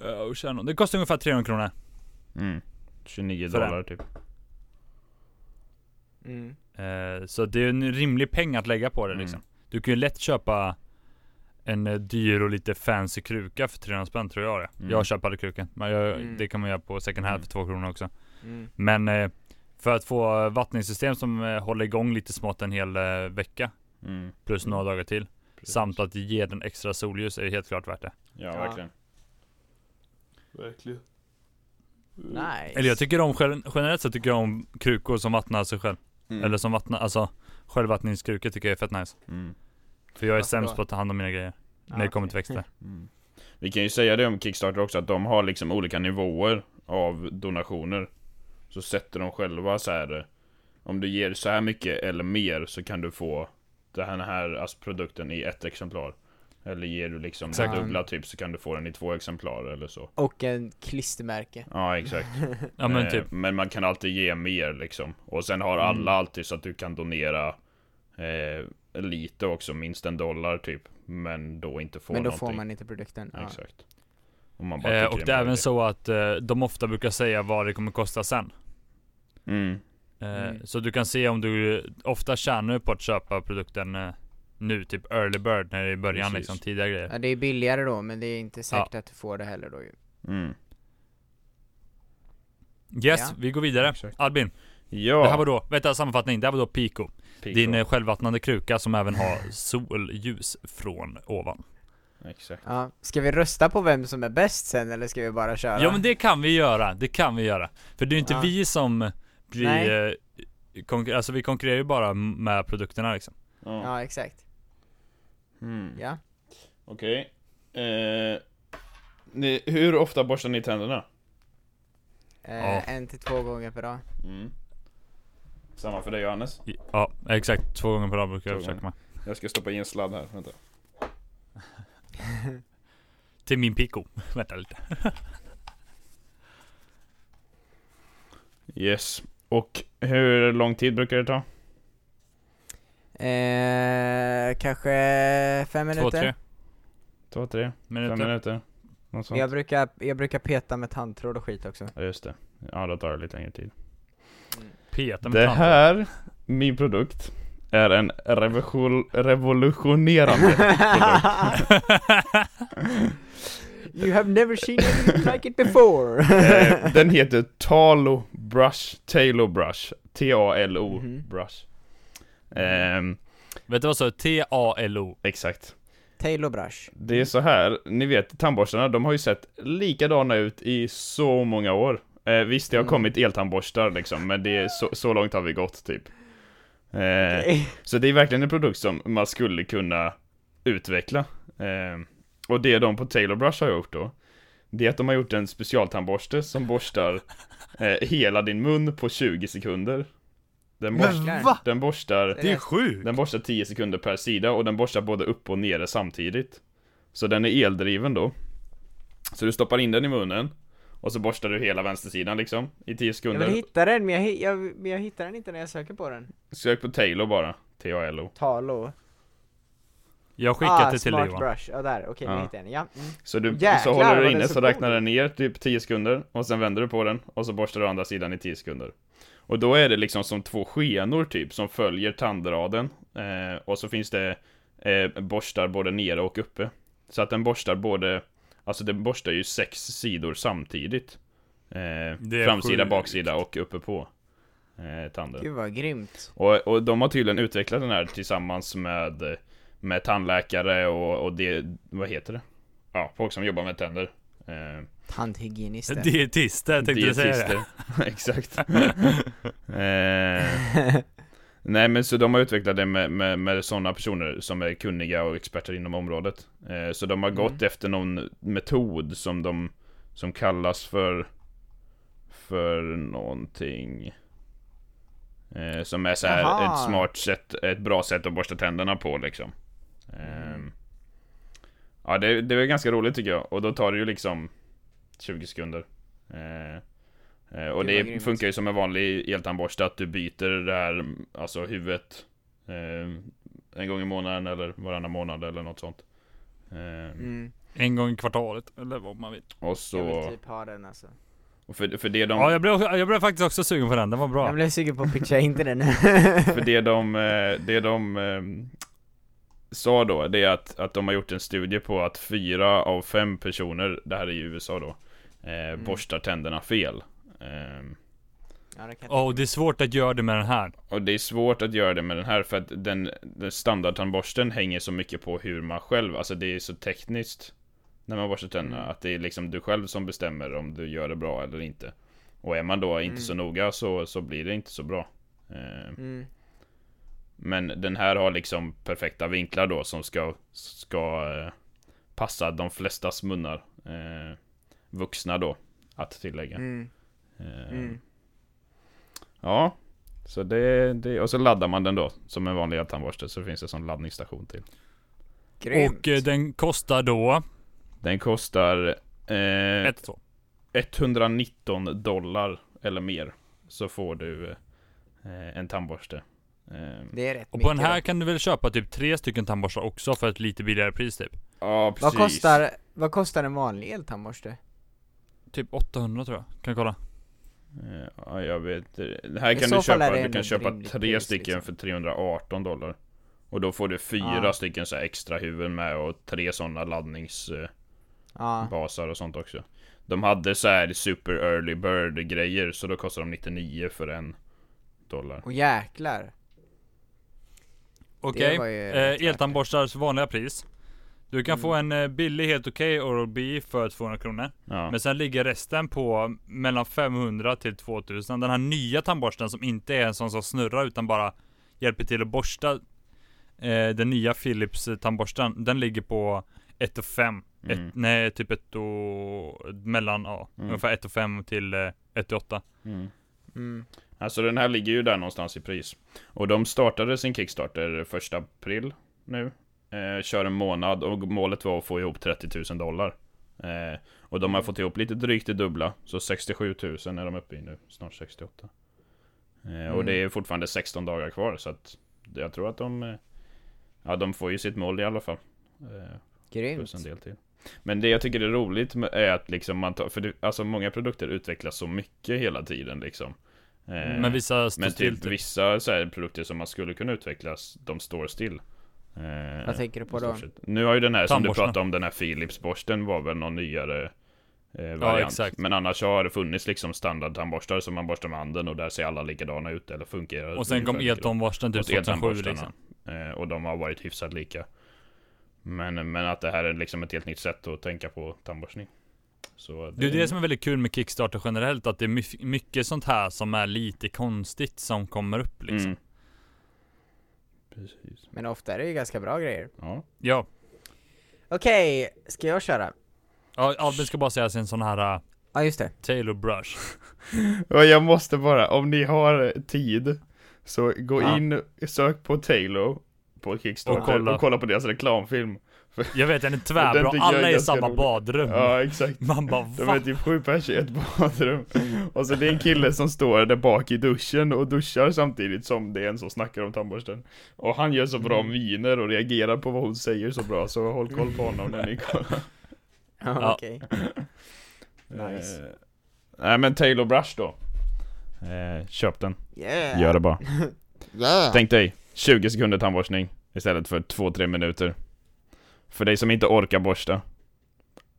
S1: Eh, och tjänar- Det kostar ungefär 300 kronor.
S3: Mm. 29
S1: För den.
S3: dollar typ.
S2: Mm.
S1: Eh, Så det är en rimlig peng att lägga på det
S3: Mm.
S1: liksom. Du kan ju lätt köpa en eh, dyr och lite fancy kruka för 300 spänn tror jag det.
S3: Mm.
S1: Jag köper aldrig krukan. Men jag,
S2: Mm.
S1: det kan man göra på second hand
S3: Mm.
S1: för 2 kronor också.
S2: Mm.
S1: Men eh, för att få eh, vattningssystem som eh, håller igång lite smått en hel eh, vecka.
S3: Mm.
S1: Plus
S2: Mm.
S1: några dagar till.
S3: precis.
S1: Samt att ge den extra solljus är helt klart värt det.
S3: Ja,
S2: Ja.
S3: verkligen.
S4: Verkligen.
S2: Nice.
S1: Eller jag tycker om, gen- generellt sett tycker jag om krukor som vattnar sig själv.
S3: Mm.
S1: Eller som vattnar, alltså självvattningskrukor tycker jag är fett nice.
S3: Mm.
S1: För jag är
S2: Varför
S1: sämst
S2: då?
S1: på att ta hand om mina grejer.
S2: Ja,
S1: när det kommer
S2: Ah, okej.
S1: till växter.
S3: Mm. Vi kan ju säga det om Kickstarter också, att de har liksom olika nivåer av donationer. Så sätter de själva så här. eh, Om du ger så här mycket eller mer så kan du få den här alltså, produkten i ett exemplar. Eller ger du liksom
S1: Exakt.
S3: det dubbla typ så kan du få den i två exemplar eller så.
S2: Och en klistermärke.
S3: Ja exakt.
S2: [laughs]
S1: Ja men
S3: Eh,
S1: typ.
S3: men man kan alltid ge mer liksom. Och sen har alla
S1: Mm.
S3: alltid så att du kan donera eh, lite också, minst en dollar typ. Men då inte få
S2: Men då
S3: någonting.
S2: får man inte produkten. Ja.
S3: Exakt. Och, man
S1: Eh,
S3: tycker
S1: och
S3: en
S1: det är
S3: bra
S1: även
S3: idé.
S1: så att eh, de ofta brukar säga vad det kommer kosta sen.
S3: Mm.
S1: Eh,
S2: Mm.
S1: Så du kan se om du, ofta tjänar du på att köpa produkten eh, nu, typ early bird när det är i början
S3: Precis.
S1: liksom, tidiga grejer.
S2: Ja, det är billigare då, men det är inte säkert att du får det heller då ju.
S3: Mm.
S1: Yes,
S2: Ja.
S1: vi går vidare.
S3: Exakt.
S1: Albin,
S3: Ja,
S1: det här var då, vänta sammanfattning, det här var då Pico.
S3: Pico.
S1: Din eh, självvattnande kruka som även har solljus från ovan.
S3: Exakt.
S2: Ja. Ska vi rösta på vem som är bäst sen, eller ska vi bara köra?
S1: Ja men det kan vi göra, det kan vi göra. För det är ju inte
S2: Ja.
S1: vi som
S2: Nej.
S1: blir, eh, konkur- alltså vi konkurrerar ju bara m- med produkterna liksom.
S3: Ja.
S2: Ja, exakt.
S3: Mm.
S2: Ja.
S3: Okej. Eh, ni- hur ofta borstar ni tänderna?
S2: Eh,
S1: Ja.
S2: En till två gånger per dag.
S3: Mm. Samma för dig Johannes.
S1: I- Ja, exakt. Två gånger per dag brukar jag
S3: Två
S1: försöka med.
S3: Jag ska stoppa i en sladd här, vänta.
S1: Till min Pico. [laughs] Vänta lite.
S3: Yes. Och hur lång tid brukar det ta?
S2: Eh, kanske fem
S1: Två,
S2: minuter?
S1: tre
S3: Två, tre,
S1: minuter.
S3: fem minuter? Något sånt.
S2: Jag brukar, jag brukar peta med tandtråd och skit också.
S3: Ja, just det. Ja, då tar det lite längre tid.
S1: Peta med
S3: Det
S1: tanden.
S3: här, min produkt, är en revolution- revolutionerande produkt.
S2: [laughs] you have never seen anything like it before!
S3: [laughs] Eh, den heter Talo Brush, Talo Brush, T-A-L-O
S2: Mhm.
S3: Brush. Ehm,
S1: [laughs] Vet du vad jag sa? T-A-L-O.
S3: exakt.
S2: Taylor Brush.
S3: Det är så här, ni vet tandborstarna, de har ju sett likadana ut i så många år. Eh, visst, det har
S2: Mm.
S3: kommit eltandborstar liksom, men det är så, så långt har vi gått typ. Eh, Så det är verkligen en produkt som man skulle kunna utveckla. Eh, och det de på Taylor Brush har gjort då, det är att de har gjort en specialtandborste som borstar eh, hela din mun på 20 sekunder. Den, borst,
S2: Jäklar.
S1: va?
S3: den, borstar,
S1: Det är sjukt!
S3: den borstar 10 sekunder per sida och den borstar både upp och nere samtidigt. Så den är eldriven då. Så du stoppar in den i munnen Och så borstar du hela vänstersidan liksom i 10
S2: Jag
S3: sekunder.
S2: vill hitta den men jag, hi- jag, men jag hittar den inte när jag söker på den.
S3: Sök på Taylor bara. T-A-L-O.
S2: Talo.
S1: Jag skickar det till
S2: Ah, smart
S1: Johan.
S2: brush. Ja där, okej nu
S3: Ja.
S2: hittade jag den. Ja. Mm.
S3: Så, du, så
S2: Jäklar,
S3: håller
S2: vad
S3: du
S2: den
S3: inne
S2: är
S3: så
S2: så
S3: räknar
S2: cool.
S3: den ner typ 10 sekunder och sen vänder du på den och så borstar du andra sidan i 10 sekunder. Och då är det liksom som två skenor typ som följer tandraden eh, och så finns det eh, borstar både nere och uppe. Så att den borstar både, alltså den borstar ju sex sidor samtidigt.
S1: Det
S3: Eh,
S1: är
S3: framsida,
S1: sjukt.
S3: baksida och uppe på eh, tanden.
S2: Gud vad grymt.
S3: Och, och de har tydligen utvecklat den här tillsammans med, med tandläkare och, och det, vad heter det? Ja, folk som jobbar med tänder. Eh,
S2: Tandhygienister.
S1: Dietister tänkte du säga det.
S3: dietister. Exakt. eh, nej men så de har utvecklat det med, med, med sådana personer som är kunniga och experter inom området. Eh, så de har
S2: Mm.
S3: gått efter någon metod som de, som kallas för, för någonting. Eh, som är så här
S2: Jaha.
S3: ett smart sätt, ett bra sätt att borsta tänderna på liksom. Ehm,
S2: Mm.
S3: Ja, det, det är ganska roligt tycker jag. Och då tar det ju liksom 20 sekunder. Eh, eh, och
S2: Gud,
S3: det
S2: vad grymt.
S3: funkar ju som en vanlig eltandborste att du byter det här, alltså huvudet eh, en gång i månaden eller varannan månad eller något sånt. Eh,
S2: Mm.
S1: En gång i kvartalet, eller vad man vill.
S3: Och
S2: Jag vill
S3: så,
S2: typ ha den alltså.
S3: och för, för det de...
S1: Ja, jag blev, jag blev faktiskt också sugen på den, den var bra.
S2: Jag blev sugen på att pitcha in till den.
S3: [laughs] För det de, eh, det de ehm, sa då, det är att, att de har gjort en studie på att fyra av fem personer, det här är i USA då, eh,
S2: Mm.
S3: borstar tänderna fel. Ehm,
S2: ja, det kan
S1: Åh, det är svårt att göra det med den här.
S3: och det är svårt att göra det med den här för att den, den standardtandborsten hänger så mycket på hur man själv, alltså det är så tekniskt när man borstar tänderna,
S2: Mm.
S3: att det är liksom du själv som bestämmer om du gör det bra eller inte. Och är man då inte
S2: Mm.
S3: så noga så, så blir det inte så bra. Ehm,
S2: Mm.
S3: Men den här har liksom perfekta vinklar då som ska, ska eh, passa de flestas munnar. Eh, vuxna då, att tillägga.
S2: Mm.
S3: Eh,
S2: Mm.
S3: Ja, så det, det, och så laddar man den då som en vanlig tandborste så finns det som laddningsstation till.
S2: Grymt.
S1: Och eh, den kostar då...
S3: Den kostar eh,
S1: Ett så.
S3: 119 dollar eller mer så får du eh, en tandborste. Eh,
S2: Det är rätt
S1: Och på
S2: mycket
S1: den
S2: då.
S1: här kan du väl köpa typ tre stycken tandborstar också för ett lite billigare pris typ?
S3: ja, precis.
S2: Vad kostar, vad kostar en vanlig eltandborste?
S1: Typ 800 tror jag. Kan jag kolla?
S3: Eh, Ja, jag vet Det här
S2: I
S3: kan
S2: så
S3: du
S2: fall
S3: köpa,
S2: är det
S3: du
S2: ändå
S3: kan
S2: ett
S3: köpa
S2: rimligt
S3: tre
S2: pris,
S3: stycken
S2: liksom.
S3: för 318 dollar. Och då får du fyra
S2: Ja.
S3: stycken så här extra huvuden med och tre eh, sådana laddningsbasar
S2: Ja,
S3: och sånt också. De hade så här super early bird grejer så då kostar de 99 för en dollar.
S2: och jäklar.
S1: Okej.
S2: Det var ju rätt Mm.
S1: Eh,
S2: värt
S1: eltandborstars vanliga pris. Du kan få en eh, billig, helt okej Oral-B för 200 kronor.
S3: Ja.
S1: Men sen ligger resten på mellan 500 till 2000. Den här nya tandborsten som inte är en sån som snurrar utan bara hjälper till att borsta. Eh, den nya Philips eh, tandborsten, den ligger på 1 och 5.
S3: Mm.
S1: Ett, nej, typ 1 och... Mellan, ja.
S3: Mm.
S1: Ungefär 1 och 5 till 1 och 8.
S3: Mm.
S2: Mm.
S3: Alltså den här ligger ju där någonstans i pris. Och de startade sin Kickstarter 1 april nu. Eh, kör en månad och målet var att få ihop 30 000 dollar. Eh, och
S2: Mm.
S3: de har fått ihop lite drygt det dubbla. Så 67 000 är de uppe i nu. Snart 68. Eh, Och
S2: Mm.
S3: det är fortfarande 16 dagar kvar så att jag tror att de... eh, Ja, de får ju sitt mål i alla fall. Eh,
S2: Grymt.
S3: Plus en del till. Men det jag tycker är roligt med- är att liksom man tar, för det, alltså många produkter utvecklas så mycket hela tiden liksom. Eh,
S1: Men vissa står
S3: men
S1: still
S3: typ
S1: typ.
S3: vissa så här produkter som man skulle kunna utvecklas, de står still. Eh,
S2: Vad tänker du på då?
S3: i stort sett. Nu har ju den här som du
S1: Tandborstarna.
S3: pratade om, den här Philips-borsten var väl någon nyare eh, variant.
S1: exakt.
S3: Men annars har det funnits liksom standardtandborstar som man borstar med handen och där ser alla likadana ut eller fungerar.
S1: Och sen kom
S3: ungefär likadant.
S1: eltandborsten typ
S3: Och
S1: 2007
S3: eltandborstarna.
S1: liksom.
S3: Eh, och de har varit hyfsat lika. Men, men att det här är liksom ett helt nytt sätt att tänka på tandborstning. Så
S1: Det är ju det som är väldigt kul med Kickstarter generellt, att det är my- mycket sånt här som är lite konstigt som kommer upp liksom.
S3: Mm. Precis.
S2: Men ofta är det ju ganska bra grejer.
S3: Ja.
S1: Ja.
S2: Okej, ska jag köra?
S1: Ja, Albin ska bara säga sin sån här uh,
S2: Ja, just det.
S1: Taylor Brush.
S3: Och jag måste bara, om ni har tid så gå
S2: Ja.
S3: in, sök på Taylor på Kickstarter
S1: Och kolla.
S3: [laughs] och kolla på deras reklamfilm.
S1: Jag vet den är
S3: Den
S1: tvärbra,
S3: tycker jag är
S1: alla är i
S3: ganska
S1: samma
S3: rolig.
S1: badrum.
S3: Ja, exakt.
S1: Man bara
S3: De är
S1: va?
S3: typ sju pers i ett badrum. Och så det är en kille som står där bak i duschen och duschar samtidigt som det är en som snackar om tandborsten. Och han gör så bra miner och reagerar på vad hon säger så bra, så håll koll på honom när ni kollar.
S1: Ja.
S2: Ja, [laughs] okej. Nice.
S3: Eh, nej men Taylor Brush då. Eh, köp den.
S2: Yeah.
S3: Gör det bara.
S2: [laughs]
S3: Tänk dig 20 sekunder tandborstning istället för 2-3 minuter. För dig som inte orkar borsta.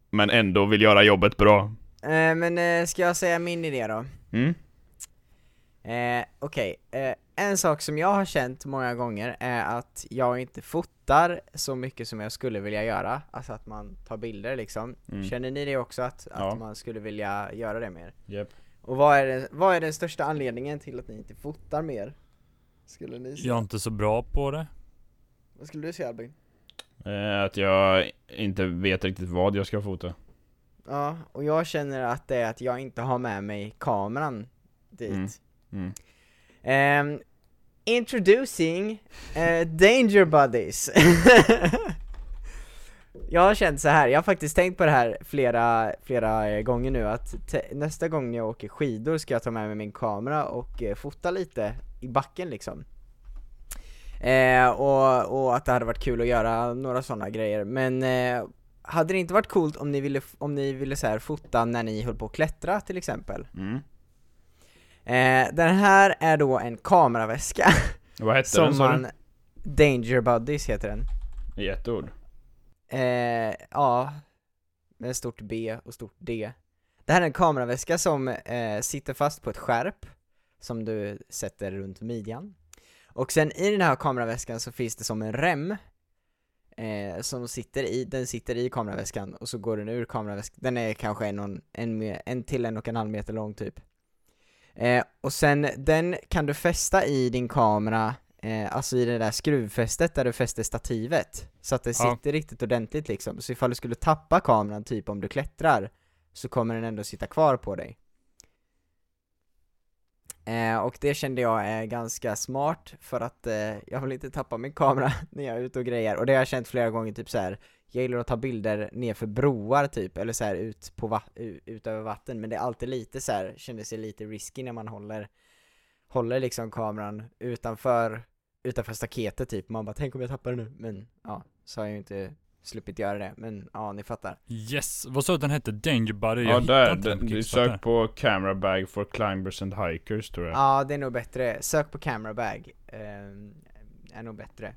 S3: Men ändå vill göra jobbet bra.
S2: Eh, men eh, ska jag säga min idé då?
S3: Mm?
S2: Eh, Okej, eh, en sak som jag har känt många gånger är att jag inte fotar så mycket som jag skulle vilja göra, alltså att man tar bilder liksom.
S3: Mm.
S2: Känner ni det också att, att
S3: Ja.
S2: man skulle vilja göra det mer?
S3: Yep.
S2: Och vad är, det, vad är den största anledningen till att ni inte fotar mer? Skulle ni säga?
S1: Jag är inte så bra på det.
S2: Vad skulle du säga Albin?
S3: Eh, Att jag inte vet riktigt vad jag ska fota.
S2: Ja, och jag känner att det är att jag inte har med mig kameran dit.
S3: Mm. Mm.
S2: Ehm, introducing eh, Danger Buddies. [laughs] jag har känt så här. jag har faktiskt tänkt på det här flera, flera eh, gånger nu att te- nästa gång jag åker skidor ska jag ta med mig min kamera och eh, fota lite i backen liksom. Eh, och, och att det hade varit kul att göra några sådana grejer, men eh, hade det inte varit coolt om ni ville, f- om ni ville så här, fota när ni höll på att klättra till exempel?
S3: Mm.
S2: Eh, den här är då en kameraväska
S3: Vad hette den
S2: som
S3: sa
S2: man... Danger Buddies heter den.
S3: du? I ett ord.
S2: Eh, ja, med stort B och stort D. Det här är en kameraväska som eh, sitter fast på ett skärp som du sätter runt midjan. Och sen i den här kameraväskan så finns det som en rem eh, som sitter i, den sitter i kameraväskan och så går den ur kameraväskan. Den är kanske en, och en, en, me- en till en och en halv meter lång typ. Eh, och sen den kan du fästa i din kamera, eh, alltså i det där skruvfästet där du fäster stativet. Så att det
S1: Ja.
S2: sitter riktigt ordentligt liksom. Så ifall du skulle tappa kameran, typ om du klättrar, så kommer den ändå sitta kvar på dig. Eh, och det kände jag är ganska smart för att eh, jag vill inte tappa min kamera när jag är ute och grejer och det har jag känt flera gånger typ så här. Jag gillar att ta bilder nerför broar typ, eller så här ut, på va- u- ut över vatten men det är alltid lite så här, känner sig lite risky när man håller håller liksom kameran utanför utanför staketet typ, man bara tänk om jag tappar den nu men ja, så har jag ju inte sluppit göra det men ja, ni fattar.
S1: Yes, vad sa du att den hette? Danger Buddy?
S3: Ja,
S1: Jag hittar
S3: där.
S1: inte den på
S3: den- Du
S1: Kickstarter.
S3: sök på camera bag for climbers and hikers tror jag.
S2: Ja, det är nog bättre. Sök på camera bag. ehm, är nog bättre.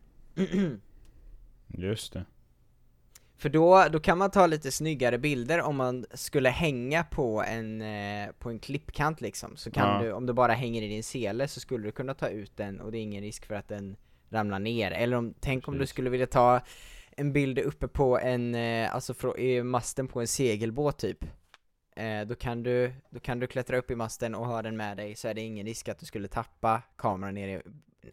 S2: [clears throat]
S3: Just det.
S2: För då, då kan man ta lite snyggare bilder om man skulle hänga på en, eh, på en klippkant liksom. Så kan
S3: Ja.
S2: du, om du bara hänger i din sele så skulle du kunna ta ut den och det är ingen risk för att den ramlar ner. Eller om, tänk om du
S3: Precis.
S2: skulle vilja ta en bild uppe på en, eh, alltså frå, i masten på en segelbåt typ. Eh, då, kan du, då kan du klättra upp i masten och ha den med dig så är det ingen risk att du skulle tappa kameran ner i,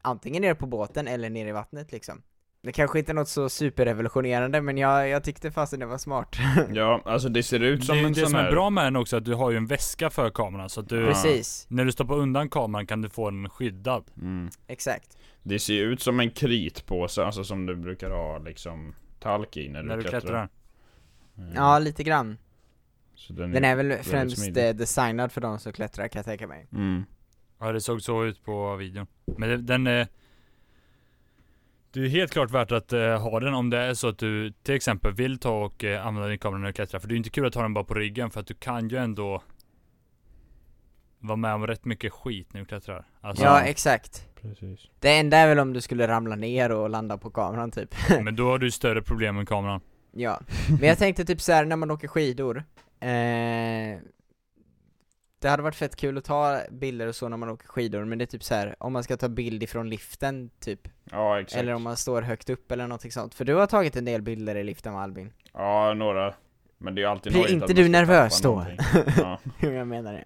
S2: antingen nere på båten eller nere i vattnet liksom. Det kanske inte är något så superrevolutionerande men jag, jag tyckte fasen det var smart. [laughs]
S3: Ja, alltså det ser ut som
S1: det,
S3: en
S1: det
S3: sån
S1: som
S3: här...
S1: är bra med den också är att du har ju en väska för kameran så att du
S2: Precis,
S1: När du stoppar undan kameran kan du få den skyddad.
S3: Mm.
S2: exakt.
S3: Det ser ut som en kritpåse, alltså som du brukar ha liksom talk i när du,
S1: när du klättrar.
S3: Mm.
S2: Ja, lite grann.
S3: Så den är...
S2: Den är väl främst
S3: smidig.
S2: eh, designad för de som klättrar kan jag tänka mig.
S3: Mm.
S1: Ja det såg så ut på videon. Men det- den är... Det är helt klart värt att eh, ha den om det är så att du till exempel vill ta och eh, använda din kamera när du klättrar. För det är ju inte kul att ha den bara på ryggen för att du kan ju ändå vara med om rätt mycket skit när du klättrar. Alltså,
S2: Ja, exakt.
S3: Precis.
S2: Det enda är väl om du skulle ramla ner och landa på kameran typ. [laughs]
S1: men då har du ju större problem med kameran.
S2: Ja, men jag tänkte typ så här när man åker skidor eh, Det hade varit fett kul att ta bilder och så när man åker skidor men det är typ så här om man ska ta bild ifrån liften typ
S3: Ja, exakt.
S2: Eller om man står högt upp eller någonting sånt För du har tagit en del bilder i liften va, Albin?
S3: Ja, några. Men det är ju alltid
S2: Blir
S3: nojigt
S2: inte
S3: att man
S2: du
S3: ska
S2: nervös
S3: tappa
S2: då?
S3: någonting. Ja.
S2: [laughs] Jo jag menar det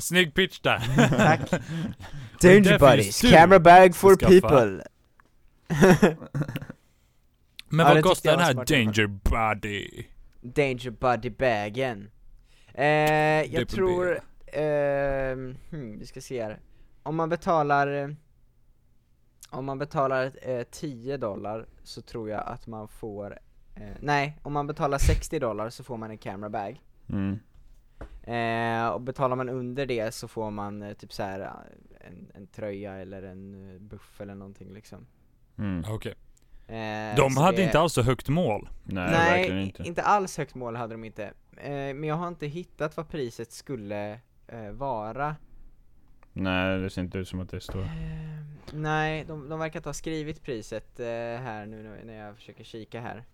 S1: Snygg pitch där!
S2: [laughs]
S1: [laughs]
S2: Tack.
S1: därför
S2: Danger
S1: är
S2: buddies,
S1: du
S2: camera bag for
S1: ska skaffa-
S2: people [laughs]
S1: Men
S2: Ja, det
S1: vad
S2: tyckte
S1: kostar
S2: jag
S1: den här
S2: var smart i alla
S1: Danger
S2: fall.
S1: Buddy?
S2: Danger buddy bagen eh,
S1: DBB.
S2: Jag tror, ehm, eh, hmm, vi ska se här Om man betalar eh, Om man betalar eh, 10 dollar så tror jag att man får eh, Nej, om man betalar 60 dollar så får man en camera bag
S3: Mm.
S2: eh, Och betalar man under det så får man eh, typ så här eh, en, en tröja eller en eh, buff eller någonting liksom
S3: Mm.
S1: Okej.
S2: eh,
S1: De
S2: så
S1: hade
S2: det-
S1: inte alls så högt mål.
S3: Nej,
S2: Nej,
S3: verkligen inte.
S2: alls högt mål hade de inte eh, Men jag har inte hittat vad priset skulle eh, vara
S3: Nej, det ser inte ut som att det står.
S2: Eh, Nej, de, de verkar inte ha skrivit priset eh, här nu när- när jag försöker kika här.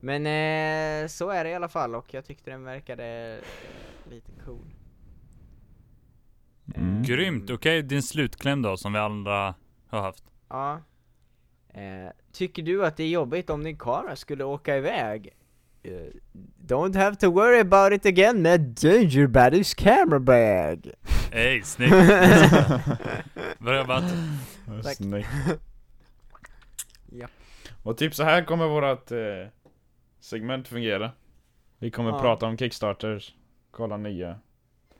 S2: Men eh, så är det i alla fall och jag tyckte den verkade eh, lite cool.
S3: Mm.
S1: Grymt. Okej, din slutkläm då som vi andra har haft.
S2: Ja. Eh, tycker du att det är jobbigt om din kamera skulle åka iväg? Eh, don't have to worry about it again med Danger Buddies
S1: [laughs]
S2: camera bag.
S1: Ey, snyggt. Bra jobbat.
S2: [sighs]
S3: Vad
S2: Tack.
S3: snyggt.
S2: [laughs] Ja.
S3: Och typ så här kommer vårat eh, segment fungera. Vi kommer
S2: Ja.
S3: prata om Kickstarters, kolla nya.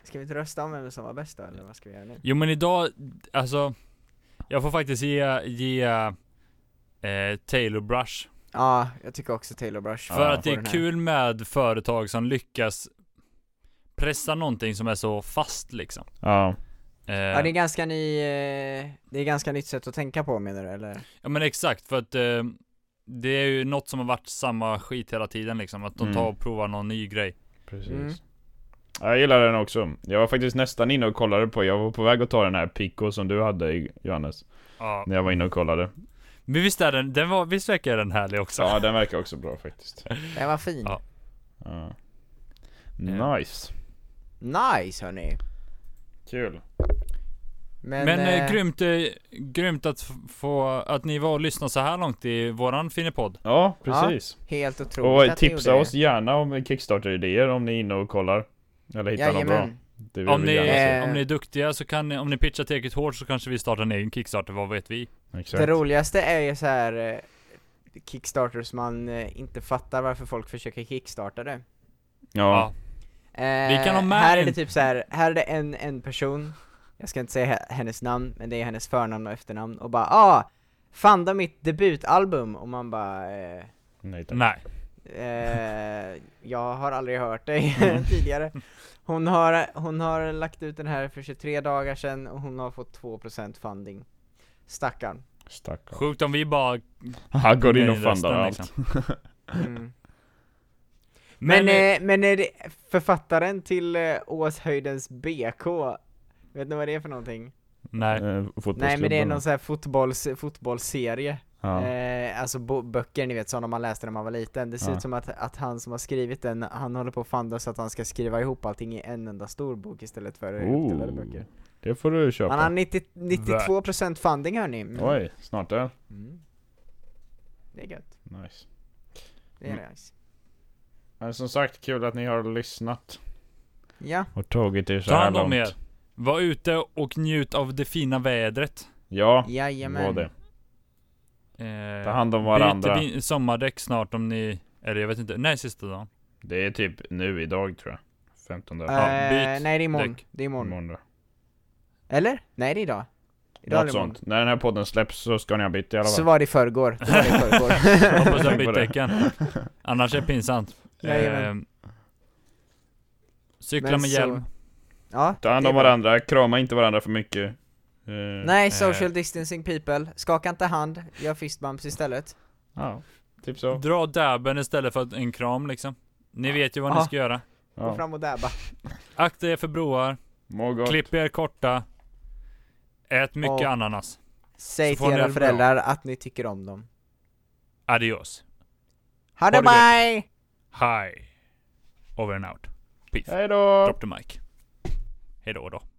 S2: Ska vi inte rösta om vem som var bäst då eller vad ska vi göra nu?
S1: Jo men idag, alltså. Jag får faktiskt ge, ge eh, Taylor Brush
S2: Ja, jag tycker också Taylor Brush.
S1: För
S3: Ja.
S1: att det
S2: får
S1: är
S2: den här.
S1: kul med företag som lyckas pressa någonting som är så fast liksom.
S3: Ja.
S1: Eh,
S2: Ja det är ganska ny, eh, det är ganska nytt sätt att tänka på menar du eller?
S1: ja men exakt, för att eh, det är ju något som har varit samma skit hela tiden liksom. Att de
S3: Mm.
S1: tar och provar någon ny grej.
S3: Precis.
S2: Mm.
S3: Jag gillar den också. Jag var faktiskt nästan inne och kollade på, jag var på väg att ta den här Pico som du hade i- Johannes.
S1: Ja.
S3: När jag var inne och kollade.
S1: Men visst är den, den var, visst verkar den härlig också?
S3: Ja, den verkar också bra faktiskt.
S2: Den var fin.
S1: Ja.
S3: Ja.
S2: Mm.
S1: Ja.
S3: Nice.
S2: Nice hörni!
S3: Kul.
S2: Men,
S1: Men eh,
S2: eh,
S1: grymt, eh, grymt att f- få, att ni var och lyssnade så här långt i våran finnepodd.
S3: Ja, precis.
S2: helt otroligt
S3: Och
S2: att ni
S3: tipsa
S2: gjorde
S3: oss gärna om Kickstarter-idéer om ni är inne och kollar. Eller
S2: det.
S3: hittar något bra.
S2: Jajamän.
S3: Det vill
S1: Om
S3: vi
S1: ni,
S3: gärna se.
S2: Eh.
S1: om ni är duktiga så kan ni, om ni pitchar tillräckligt hårt så kanske vi startar en egen Kickstarter, vad vet vi?
S3: Exakt.
S2: Det roligaste är ju så här eh, Kickstarters man eh, inte fattar varför folk försöker kickstarta det.
S1: Ja.
S3: Ja.
S2: Eh,
S1: Vi kan ha med
S2: här är
S1: en-
S2: det typ så här, här är det en, en person, jag ska inte säga he- hennes namn, men det är hennes förnamn och efternamn och bara ah! Fanda mitt debutalbum! Och man bara eh,
S3: Nej, tack.
S1: Nej.
S2: Eh, jag har aldrig hört dig
S1: Mm.
S2: [laughs] tidigare. Hon har, hon har lagt ut den här för 23 dagar sedan och hon har fått 2% funding. Stackarn.
S3: Stackarn.
S1: Sjukt om vi bara
S3: [laughs] Han går in och
S1: Nej, resten,
S3: fundar allt.
S1: liksom.
S2: Mm.
S1: Men,
S2: Men, men, eh, men är det författaren till eh, Åshöjdens BK, vet ni vad det är för någonting?
S1: nej.
S3: Eh,
S2: Nej men det är
S3: fotbollsklubben.
S2: någon sån här fotbolls, fotbollsserie.
S3: Ja.
S2: Eh, alltså bo- böcker ni vet, sådana man läste när man var liten. Det ser
S3: Ja.
S2: ut som att, att han som har skrivit den, han håller på att funda så att han ska skriva ihop allting i en enda stor bok istället för uppdelade
S3: Oh,
S2: böcker.
S3: det får du köpa.
S2: Han har 90, 92% funding hörni. Mm.
S3: Oj, snart där.
S2: Mm. Det är gött.
S3: Nice.
S2: Det
S3: Mm.
S2: är nice.
S3: Men som sagt, kul att ni har lyssnat
S2: Ja,
S3: och tagit er så
S1: Ta
S3: här
S1: hand om
S3: långt.
S1: er. Var ute och njut av det fina vädret.
S3: Ja,
S2: jajamän.
S3: var det.
S1: Eh,
S3: Ta hand om varandra.
S1: Byt bin- sommardäck snart om ni... Eller jag vet inte. Nej, sista dagen.
S3: Det är typ nu idag tror jag. 15
S2: Eh,
S3: april.
S1: byt
S2: nej det är imorgon.
S1: däck.
S2: Det är imorgon.
S3: Imorgon då.
S2: Eller? Nej det är idag. Idag
S3: Något
S2: eller imorgon.
S3: sånt. När den här podden släpps så ska ni ha bytt i alla fall.
S2: Så var det i förrgår. Det
S3: [laughs]
S2: var det i förrgår.
S1: Hoppas jag
S3: Tänk på
S1: bytt
S3: det.
S1: däcken.
S2: [laughs]
S1: Annars är det pinsamt.
S3: Eh,
S1: Ehm,
S2: Jajamän.
S1: cykla
S2: Men
S1: med
S2: så-
S1: hjälm.
S2: ja,
S3: Ta hand
S2: det är
S3: om
S2: bra.
S3: varandra, krama inte varandra för mycket. Eh,
S2: Nej,
S1: Eh.
S2: social distancing people. Skaka inte hand, gör fist bumps istället.
S3: Ja, typ så.
S1: Dra dabben istället för att- en kram liksom. Ni vet ju vad ni
S2: Ja.
S1: ska göra.
S2: Gå
S3: Ja.
S2: fram och dabba.
S1: Akta er för broar.
S3: Må gott.
S1: Klipp er korta. Ät mycket
S2: Ja.
S1: ananas.
S2: Säg
S1: Så får
S2: till
S1: ni
S2: era
S1: det
S2: föräldrar att ni tycker om dem.
S1: Adios.
S2: Ha
S1: det
S2: det
S1: gött.
S2: bye!
S1: Hi. Over and out. Peace.
S3: Hej då!
S1: Drop the mic. Hejdå då.